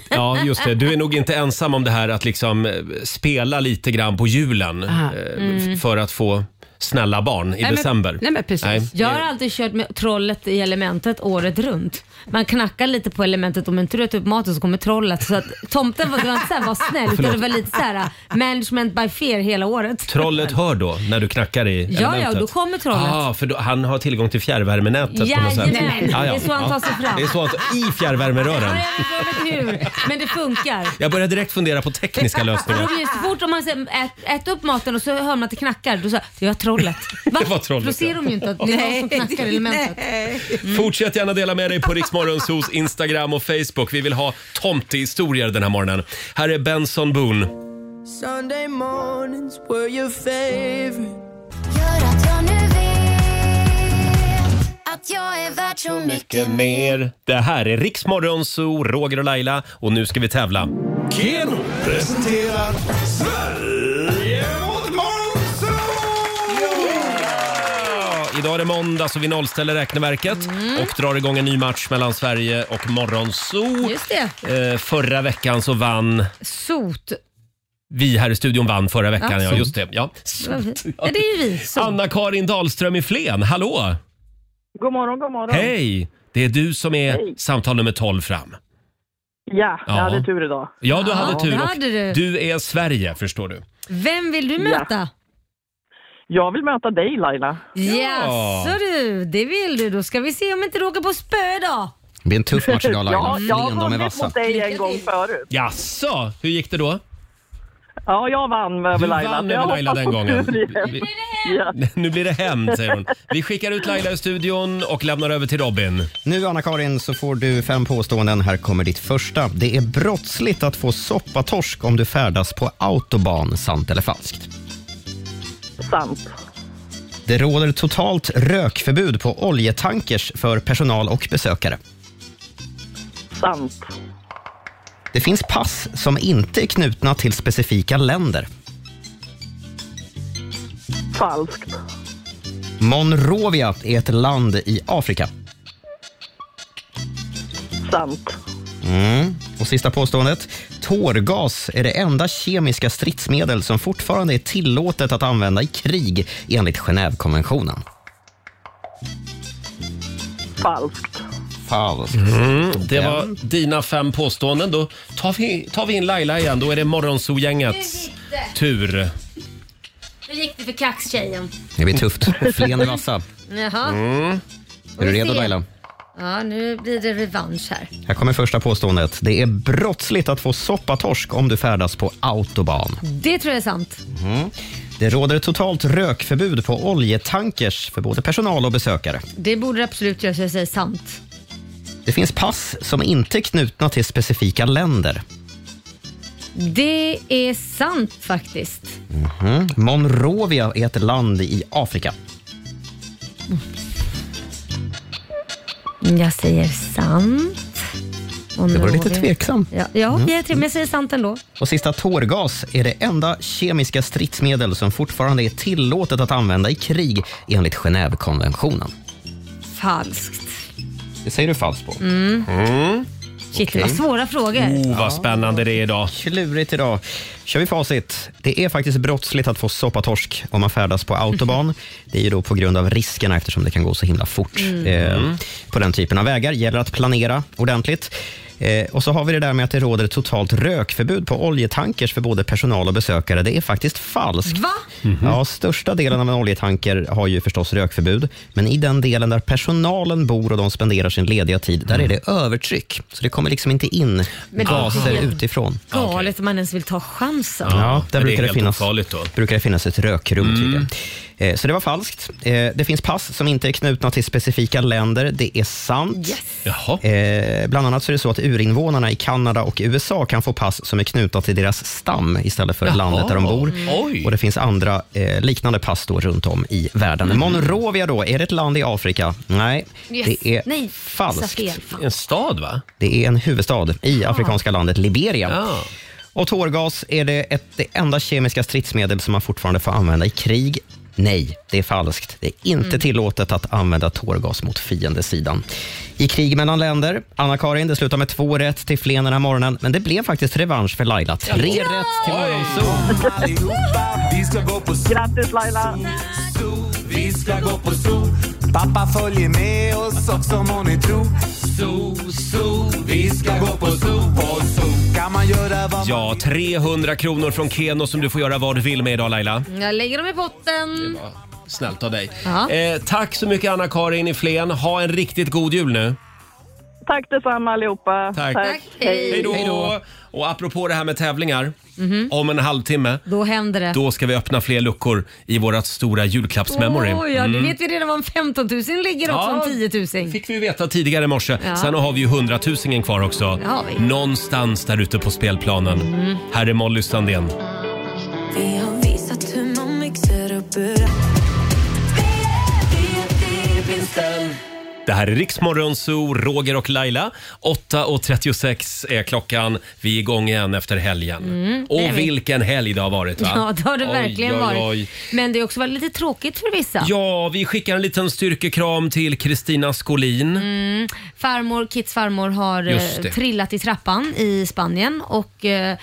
[SPEAKER 1] Ja, just det. Du är nog inte ensam om det här att liksom eh, spela lite gran på julen
[SPEAKER 2] Ah.
[SPEAKER 1] eh,
[SPEAKER 2] Mm.
[SPEAKER 1] f- för att få snälla barn i
[SPEAKER 2] Nej, men-
[SPEAKER 1] december.
[SPEAKER 2] nej, men precis.
[SPEAKER 1] Nej.
[SPEAKER 2] Jag har alltid kört med trollet i elementet året runt. Man knackar lite på elementet om inte du äter upp maten så kommer trollet. Så att tomten var, det var inte så här, var snäll utan det var lite så här management by fear hela året.
[SPEAKER 1] Trollet hör då när du knackar i
[SPEAKER 2] Ja, ja,
[SPEAKER 1] elementet.
[SPEAKER 2] då kommer trollet.
[SPEAKER 1] Ah, för då, han har tillgång till fjärrvärmenätet på något sätt.
[SPEAKER 2] Jajamän,
[SPEAKER 1] Ah,
[SPEAKER 2] det är så han tar sig fram.
[SPEAKER 1] Det är så han tar i fjärrvärmerören.
[SPEAKER 2] Jag vet hur, men det funkar.
[SPEAKER 1] Jag börjar direkt fundera på tekniska lösningar.
[SPEAKER 2] Roger, så fort om man säger ät, ät upp maten och så hör man att det knackar, då säger jag, det var trollet.
[SPEAKER 1] Det var
[SPEAKER 2] För Då
[SPEAKER 1] trollet.
[SPEAKER 2] ser de ju inte att det är någon som knackar i elementet. Mm.
[SPEAKER 1] Fortsätt gärna dela med dig på Riksmorgonsos Instagram och Facebook. Vi vill ha tomtehistorier den här morgonen. Här är Benson Boone.
[SPEAKER 9] Sunday mornings were your favorite.
[SPEAKER 7] Att jag är värd så
[SPEAKER 1] Mycket mer. Det här är Riksmorgonso, Roger och Laila och nu ska vi tävla.
[SPEAKER 17] Keno presenterar Sverige mot
[SPEAKER 1] Ja, Idag är det måndag så vi nollställer räkneverket
[SPEAKER 2] Mm.
[SPEAKER 1] och drar igång en ny match mellan Sverige och Morgonzoo.
[SPEAKER 2] Just det.
[SPEAKER 1] Eh, förra veckan så vann
[SPEAKER 2] Sot.
[SPEAKER 1] vi här i studion vann förra veckan.
[SPEAKER 2] Ja,
[SPEAKER 1] Ja,
[SPEAKER 2] så.
[SPEAKER 1] just det. Ja.
[SPEAKER 2] Ja, det är ju vi.
[SPEAKER 1] Anna-Karin Dahlström i Flen, hallå!
[SPEAKER 19] God morgon, god morgon.
[SPEAKER 1] Hej! Det är du som är
[SPEAKER 19] Hej.
[SPEAKER 1] samtal nummer 12 fram.
[SPEAKER 19] Ja, jag
[SPEAKER 1] Ja.
[SPEAKER 19] hade tur idag.
[SPEAKER 1] Ja, du
[SPEAKER 19] Ja,
[SPEAKER 1] hade tur.
[SPEAKER 19] det
[SPEAKER 1] och
[SPEAKER 19] hade du.
[SPEAKER 1] du är Sverige, förstår du.
[SPEAKER 2] Vem vill du möta?
[SPEAKER 19] Jag vill möta dig Laila.
[SPEAKER 1] Ja.
[SPEAKER 2] Jaså du, det vill du. Då ska vi se om inte du åker på spö idag.
[SPEAKER 8] Det blir en tuff match idag Laila.
[SPEAKER 19] Ja, jag har
[SPEAKER 8] Flen, de är
[SPEAKER 19] vunnit
[SPEAKER 8] vassa.
[SPEAKER 19] mot dig en gång förut.
[SPEAKER 1] Jaså, hur gick det då?
[SPEAKER 19] Ja, jag vann över
[SPEAKER 1] Du
[SPEAKER 19] Laila.
[SPEAKER 1] vann
[SPEAKER 19] så jag
[SPEAKER 1] över Laila
[SPEAKER 19] hoppas
[SPEAKER 1] den
[SPEAKER 19] på
[SPEAKER 1] gången.
[SPEAKER 19] tur igen. Ja.
[SPEAKER 1] Nu blir det hem, säger hon. Vi skickar ut Laila i studion och lämnar över till Robin.
[SPEAKER 8] Nu Anna-Karin så får du fem påståenden. Här kommer ditt första. Det är brottsligt att få soppatorsk om du färdas på autobahn. Sant eller falskt?
[SPEAKER 19] Sant.
[SPEAKER 8] Det råder totalt rökförbud på oljetankers för personal och besökare.
[SPEAKER 19] Sant.
[SPEAKER 8] Det finns pass som inte är knutna till specifika länder.
[SPEAKER 19] Falskt.
[SPEAKER 8] Monrovia är ett land i Afrika.
[SPEAKER 19] Sant.
[SPEAKER 8] Mm. Och sista påståendet. Tårgas är det enda kemiska stridsmedel som fortfarande är tillåtet att använda i krig enligt Genèvekonventionen.
[SPEAKER 19] Falskt.
[SPEAKER 8] Falskt.
[SPEAKER 1] Mm, Det var dina fem påståenden. Då tar vi, tar vi in Laila igen. Då är det Morgonzoo-gängets tur.
[SPEAKER 2] Hur gick det för kaxtjejen?
[SPEAKER 8] Det blir tufft. Flen är vassa.
[SPEAKER 2] Jaha.
[SPEAKER 8] Mm. Är du redo Laila?
[SPEAKER 2] Ja, nu blir det revansch här.
[SPEAKER 8] Här kommer första påståendet. Det är brottsligt att få soppatorsk om du färdas på autobahn.
[SPEAKER 2] Det tror jag är sant.
[SPEAKER 8] Mm. Det råder ett totalt rökförbud på oljetankers för både personal och besökare.
[SPEAKER 2] Det borde det absolut göra så jag säger sant.
[SPEAKER 8] Det finns pass som inte är knutna till specifika länder.
[SPEAKER 2] Det är sant faktiskt.
[SPEAKER 8] Mhm. Monrovia är ett land i Afrika.
[SPEAKER 2] Jag säger sant. Och
[SPEAKER 8] Det var
[SPEAKER 2] nu
[SPEAKER 8] lite
[SPEAKER 2] har vi-
[SPEAKER 8] tveksam.
[SPEAKER 2] Ja, ja
[SPEAKER 8] Mm.
[SPEAKER 2] jag är tveksam, men jag säger sant ändå.
[SPEAKER 8] Och sista, tårgas är det enda kemiska stridsmedel som fortfarande är tillåtet att använda i krig enligt Genèvekonventionen.
[SPEAKER 2] Falskt.
[SPEAKER 8] Det säger du falskt på.
[SPEAKER 2] Mm. Shit, det var
[SPEAKER 8] Okej. Oh,
[SPEAKER 2] svåra frågor.
[SPEAKER 1] Mm, spännande det är idag.
[SPEAKER 8] Klurigt idag. Kör vi facit. Det är faktiskt brottsligt att få soppatorsk om man färdas på autobahn. Det är ju då på grund av riskerna eftersom det kan gå så himla fort.
[SPEAKER 20] Mm.
[SPEAKER 8] Eh, på den typen av vägar gäller att planera ordentligt. Eh, och så har vi det där med att det råder ett totalt rökförbud på oljetankers för både personal och besökare. Det är faktiskt falskt.
[SPEAKER 2] Va?
[SPEAKER 8] Ja, största delen av en oljetanker har ju förstås rökförbud, men i den delen där personalen bor och de spenderar sin lediga tid, där är det övertryck. Så det kommer liksom inte in
[SPEAKER 2] Mm. Men det är
[SPEAKER 8] gaser
[SPEAKER 2] helt
[SPEAKER 8] utifrån.
[SPEAKER 2] Galet om man ens vill ta chansen.
[SPEAKER 20] liksom.
[SPEAKER 8] Ja, där
[SPEAKER 1] är
[SPEAKER 8] brukar det,
[SPEAKER 1] helt
[SPEAKER 8] finnas,
[SPEAKER 1] ofarligt då.
[SPEAKER 8] brukar det finnas ett rökrum tydligen. Eh, Så det var falskt. Eh, Det finns pass som inte är knutna till specifika länder. Det är sant. Eh, Bland annat så är det så att urinvånarna i Kanada och USA kan få pass som är knutna till deras stam istället för
[SPEAKER 20] Jaha.
[SPEAKER 8] landet där de bor.
[SPEAKER 20] Oj.
[SPEAKER 8] Och det finns andra eh, liknande pass då runt om i världen.
[SPEAKER 20] Mm.
[SPEAKER 8] Monrovia då, är det ett land i Afrika? Nej,
[SPEAKER 20] Yes.
[SPEAKER 8] det är
[SPEAKER 20] Nej,
[SPEAKER 8] falskt.
[SPEAKER 20] jag sa fel. Fan.
[SPEAKER 1] En stad va? Ah.
[SPEAKER 8] Det är en huvudstad i afrikanska landet Liberia.
[SPEAKER 1] Ja.
[SPEAKER 8] Och tårgas är det ett, det enda kemiska stridsmedel som man fortfarande får använda i krig. Nej, det är falskt. Det är inte
[SPEAKER 9] Mm.
[SPEAKER 8] tillåtet att använda tårgas mot fiendesidan. I krig mellan länder. Anna-Karin, det slutar med två rätt till Flen den här morgonen, men det blev faktiskt revansch för Laila. Tre rätt.
[SPEAKER 17] till Morgonzoo. Vi ska gå på zoo. Grattis Laila! Vi ska gå på zoo. Pappa följer med oss också må ni tro. Zoo, zoo, vi ska gå på zoo. På zoo kan man göra vad
[SPEAKER 1] Ja, 300 kronor från Keno som du får göra vad du vill med idag Laila.
[SPEAKER 2] Jag lägger dem i potten.
[SPEAKER 1] Snällt av dig.
[SPEAKER 2] Ja.
[SPEAKER 1] Eh, tack så mycket Anna-Karin i Flen. Ha en riktigt god jul nu.
[SPEAKER 19] Tack detsamma allihopa.
[SPEAKER 1] Tack. Hej då! Och apropå det här med tävlingar.
[SPEAKER 2] Mhm.
[SPEAKER 1] Om en halvtimme,
[SPEAKER 2] Då händer det.
[SPEAKER 1] då ska vi öppna fler luckor i vårt stora julklappsmemory.
[SPEAKER 2] Oj, ja, det
[SPEAKER 1] Mm.
[SPEAKER 2] vet vi redan var en 15 000 ligger och
[SPEAKER 1] Ja,
[SPEAKER 2] också en 10 000.
[SPEAKER 1] fick vi veta tidigare i morse.
[SPEAKER 2] Ja.
[SPEAKER 1] Sen har vi ju hundratusingen kvar också.
[SPEAKER 2] Det har vi.
[SPEAKER 1] Någonstans där ute på spelplanen.
[SPEAKER 7] Mm.
[SPEAKER 1] Här är Molly Sandén.
[SPEAKER 7] Vi har visat hur man mixar upp ur
[SPEAKER 1] Det här är Riksmorgon Zoo, Roger och Laila. 8.36 är klockan. Vi är igång igen efter helgen.
[SPEAKER 2] Mm, det är
[SPEAKER 1] och
[SPEAKER 2] vi.
[SPEAKER 1] vilken helg det har varit va?
[SPEAKER 2] Ja, det har det
[SPEAKER 1] Oj,
[SPEAKER 2] verkligen
[SPEAKER 1] oj,
[SPEAKER 2] varit.
[SPEAKER 1] oj.
[SPEAKER 2] Men det har också varit lite tråkigt för vissa.
[SPEAKER 1] Ja, vi skickar en liten styrkekram till Kristina Skolin.
[SPEAKER 2] Mm. Farmor, Kits farmor har eh,
[SPEAKER 1] Just det.
[SPEAKER 2] trillat i trappan i Spanien och eh,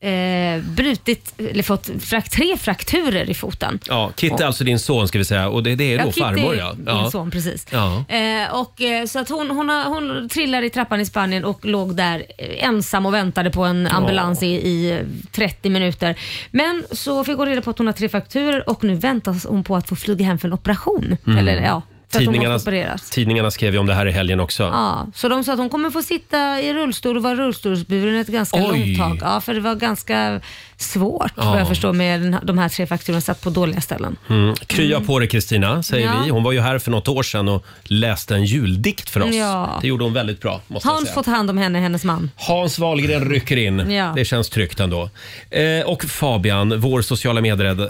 [SPEAKER 2] eh, brutit, eller fått frak- tre frakturer i foten.
[SPEAKER 1] Ja, Kit är alltså din son ska vi säga och det, det är då
[SPEAKER 2] Kit
[SPEAKER 1] farmor
[SPEAKER 2] är
[SPEAKER 1] ja.
[SPEAKER 2] min
[SPEAKER 1] ja.
[SPEAKER 2] son, precis.
[SPEAKER 1] Ja.
[SPEAKER 2] Eh, och, eh, så att hon, hon, har, hon trillade i trappan i Spanien och låg där eh, ensam och väntade på en ambulans i, i 30 minuter. Men så fick hon reda på att hon har tre frakturer och nu väntas hon på att få flyga hem för en operation.
[SPEAKER 1] Mm.
[SPEAKER 2] Eller, ja, för att hon måste
[SPEAKER 1] Tidningarna,
[SPEAKER 2] opereras.
[SPEAKER 1] tidningarna skrev ju om det här i helgen också.
[SPEAKER 2] Ja, så de sa att hon kommer få sitta i rullstol och vara rullstolsburen ett ganska
[SPEAKER 1] Oj.
[SPEAKER 2] långt tag. Ja, för det var ganska svårt
[SPEAKER 1] Ja.
[SPEAKER 2] vad jag förstår med den, de här tre fakturorna satt på dåliga ställen.
[SPEAKER 1] Mm. Krya på dig Kristina, säger
[SPEAKER 2] Ja.
[SPEAKER 1] vi. Hon var ju här för något år sedan och läste en juldikt för oss.
[SPEAKER 2] Ja.
[SPEAKER 1] Det gjorde hon väldigt bra måste jag
[SPEAKER 2] Hans
[SPEAKER 1] säga.
[SPEAKER 2] får ta hand om henne, hennes man.
[SPEAKER 1] Hans Wahlgren rycker in.
[SPEAKER 2] Ja.
[SPEAKER 1] Det känns tryggt ändå. Eh, och Fabian, vår sociala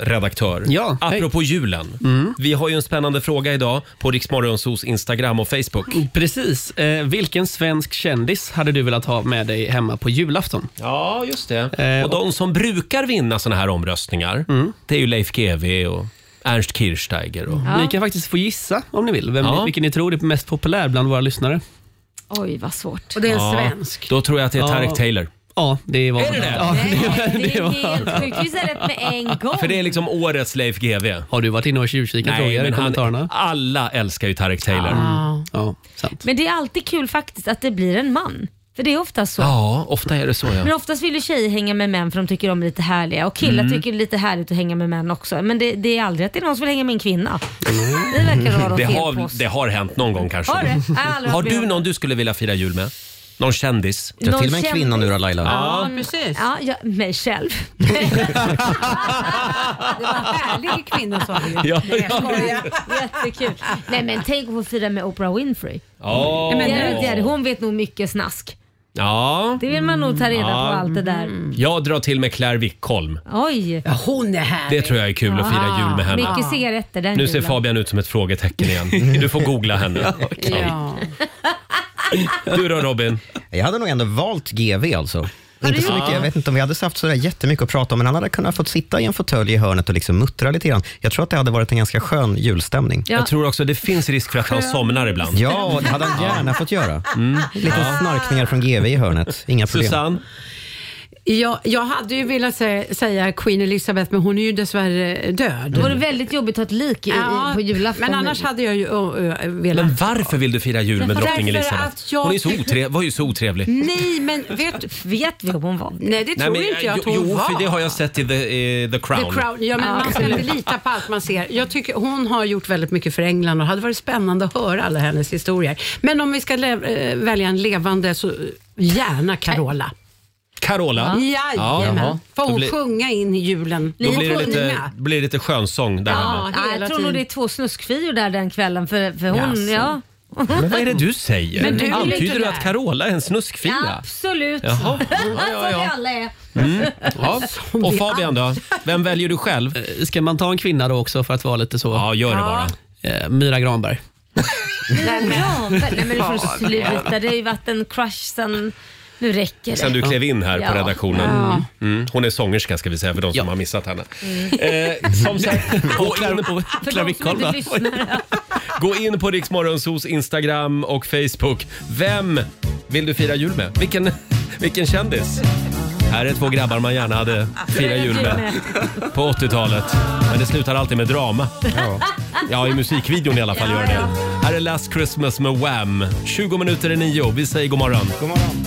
[SPEAKER 1] medieredaktör.
[SPEAKER 11] Ja, Mm.
[SPEAKER 1] Apropå julen. Vi har ju en spännande fråga idag på Riksmorgonsos Instagram och Facebook.
[SPEAKER 11] Mm, Precis. Eh, vilken svensk kändis hade du velat ha med dig hemma på julafton? Eh,
[SPEAKER 1] Ja, just det. och de som brukar vinna såna här omröstningar,
[SPEAKER 11] Mm.
[SPEAKER 1] det är ju Leif GW och Ernst Kirchsteiger. Och...
[SPEAKER 11] Ni kan faktiskt få gissa om ni vill, vem
[SPEAKER 1] Ja.
[SPEAKER 11] ni, vilken ni tror är mest populär bland våra lyssnare.
[SPEAKER 2] Oj, vad svårt.
[SPEAKER 1] Då tror jag att det är
[SPEAKER 11] Ja.
[SPEAKER 1] Tareq Taylor.
[SPEAKER 11] Ja, det var
[SPEAKER 1] Är det det?
[SPEAKER 11] Ja, det,
[SPEAKER 2] Det är
[SPEAKER 11] var-
[SPEAKER 2] helt sjukt. Vi säger rätt med en gång.
[SPEAKER 1] För det är liksom årets Leif GW.
[SPEAKER 11] Har du varit inne och tjuvkikat
[SPEAKER 1] Nej,
[SPEAKER 11] Roger i
[SPEAKER 1] men
[SPEAKER 11] kommentarerna? Mm.
[SPEAKER 1] han, alla älskar ju Tareq Taylor.
[SPEAKER 2] Ja.
[SPEAKER 11] Ja,
[SPEAKER 2] Men det är alltid kul faktiskt att det blir en man. För det är oftast så.
[SPEAKER 1] ja, ofta är det så
[SPEAKER 2] Men
[SPEAKER 1] ja.
[SPEAKER 2] oftast vill ju tjejer hänga med män för de tycker de är lite härliga och killar
[SPEAKER 1] Mm.
[SPEAKER 2] tycker det är lite härligt att hänga med män också. Men det, det är aldrig att det är någon som vill hänga med en kvinna. Det verkar vara något
[SPEAKER 1] Det
[SPEAKER 2] fel på oss.
[SPEAKER 1] har, det har hänt någon gång kanske.
[SPEAKER 2] Har det? Jag har aldrig
[SPEAKER 1] Har
[SPEAKER 2] varit med
[SPEAKER 1] du
[SPEAKER 2] om
[SPEAKER 1] någon du skulle vilja fira jul med? Någon kändis?
[SPEAKER 2] Dra Någon till med en kvinna kändis? nu
[SPEAKER 1] då Laila.
[SPEAKER 2] Ja,
[SPEAKER 1] Ja.
[SPEAKER 2] precis. Ja, jag, mig själv.
[SPEAKER 6] Det var härlig kvinna sa du
[SPEAKER 1] Ja,
[SPEAKER 6] Nej,
[SPEAKER 1] ja.
[SPEAKER 6] jag skojar.
[SPEAKER 2] Jättekul. Nej men tänk att få fira med Oprah Winfrey.
[SPEAKER 1] Ja.
[SPEAKER 2] Det är- det är- Hon vet nog mycket snask.
[SPEAKER 1] ja.
[SPEAKER 2] Det vill man nog ta reda på
[SPEAKER 1] Ja.
[SPEAKER 2] allt det där.
[SPEAKER 1] Jag drar till med Claire Wickholm.
[SPEAKER 2] Oj. hon är här.
[SPEAKER 1] Det tror jag är kul att fira jul med henne.
[SPEAKER 2] Mycket cigaretter den
[SPEAKER 1] Nu ser
[SPEAKER 2] julen.
[SPEAKER 1] Fabian ut som ett frågetecken igen. Du får googla henne.
[SPEAKER 2] Ja.
[SPEAKER 1] Du då Robin?
[SPEAKER 8] Jag hade nog ändå valt GV alltså. Inte så
[SPEAKER 1] gjort
[SPEAKER 8] mycket,
[SPEAKER 1] det?
[SPEAKER 8] jag vet inte om vi hade haft sådär jättemycket att prata om, men han hade kunnat fått sitta i en fåtölj i hörnet och liksom muttra lite grann. Jag tror att det hade varit en ganska skön julstämning.
[SPEAKER 1] Jag tror också det finns risk för att han somnar ibland.
[SPEAKER 8] Ja, det hade han gärna fått göra. Lite snarkningar från GV i hörnet, inga problem.
[SPEAKER 1] Susanne?
[SPEAKER 6] Jag, jag hade ju velat sä- säga Queen Elizabeth, men hon är ju dessvärre död.
[SPEAKER 2] Då var det väldigt jobbigt att ha ett lik i, i, på julafton.
[SPEAKER 6] Men annars hade jag ju ö, ö, velat...
[SPEAKER 1] Men varför vill du fira jul med
[SPEAKER 6] Därför
[SPEAKER 1] drottning Elizabeth?
[SPEAKER 6] att jag-
[SPEAKER 1] Hon är så otre- var ju så otrevlig.
[SPEAKER 6] Nej,
[SPEAKER 2] men vet, vet vi om hon var?
[SPEAKER 6] Nej, det tror inte jag att hon
[SPEAKER 1] jo,
[SPEAKER 6] var.
[SPEAKER 1] för det har jag sett i The, i the Crown.
[SPEAKER 6] The Crown. Ja, men
[SPEAKER 1] Ah,
[SPEAKER 6] man ska inte lita på allt man ser. Jag tycker hon har gjort väldigt mycket för England och det hade varit spännande att höra alla hennes historier. Men om vi ska le- eh, välja en levande så gärna Carola.
[SPEAKER 1] Carola?
[SPEAKER 6] Jajamän.
[SPEAKER 1] jaha.
[SPEAKER 6] Får
[SPEAKER 1] Då
[SPEAKER 6] hon
[SPEAKER 1] blir-
[SPEAKER 6] sjunga in i julen?
[SPEAKER 1] Då blir det lite, blir det lite skönsång där hemma.
[SPEAKER 2] Ja, jag tror nog det är två snuskfior där den kvällen för, för hon,
[SPEAKER 1] Jaså.
[SPEAKER 2] ja.
[SPEAKER 1] Men vad är det du säger?
[SPEAKER 2] Men du är
[SPEAKER 1] Antyder
[SPEAKER 2] inte
[SPEAKER 1] du
[SPEAKER 2] där.
[SPEAKER 1] att Carola är en snuskfia?
[SPEAKER 2] Absolut.
[SPEAKER 1] Jaha. Ja,
[SPEAKER 2] Som
[SPEAKER 1] ja,
[SPEAKER 2] vi
[SPEAKER 1] ja.
[SPEAKER 2] alla är.
[SPEAKER 1] Mm. Ja.
[SPEAKER 2] vi
[SPEAKER 1] Och Fabian då? Vem väljer du själv?
[SPEAKER 11] Eh, Ska man ta en kvinna då också för att vara lite så? Ja,
[SPEAKER 1] gör
[SPEAKER 2] det bara.
[SPEAKER 11] Eh, Myra Granberg.
[SPEAKER 2] Nej men, nej, men du får
[SPEAKER 11] Fan.
[SPEAKER 2] sluta. Det har ju varit en crush sen Nu räcker det.
[SPEAKER 1] Sen du klev in här på
[SPEAKER 2] Ja.
[SPEAKER 1] redaktionen.
[SPEAKER 2] Ja.
[SPEAKER 1] Mm. Hon är sångerska ska vi säga för de som har missat henne.
[SPEAKER 2] Mm.
[SPEAKER 1] Eh, som sagt, gå in på
[SPEAKER 2] För de som inte lyssnar.
[SPEAKER 1] Gå in på Riksmorgonsos Instagram och Facebook. Vem vill du fira jul med? Vilken, vilken kändis? Här är två grabbar man gärna hade firat jul med på 80-talet. Men det slutar alltid med drama. Ja, i musikvideon i alla fall gör det. Här är Last Christmas med Wham. 20 minuter i nio. Vi säger god morgon. God morgon.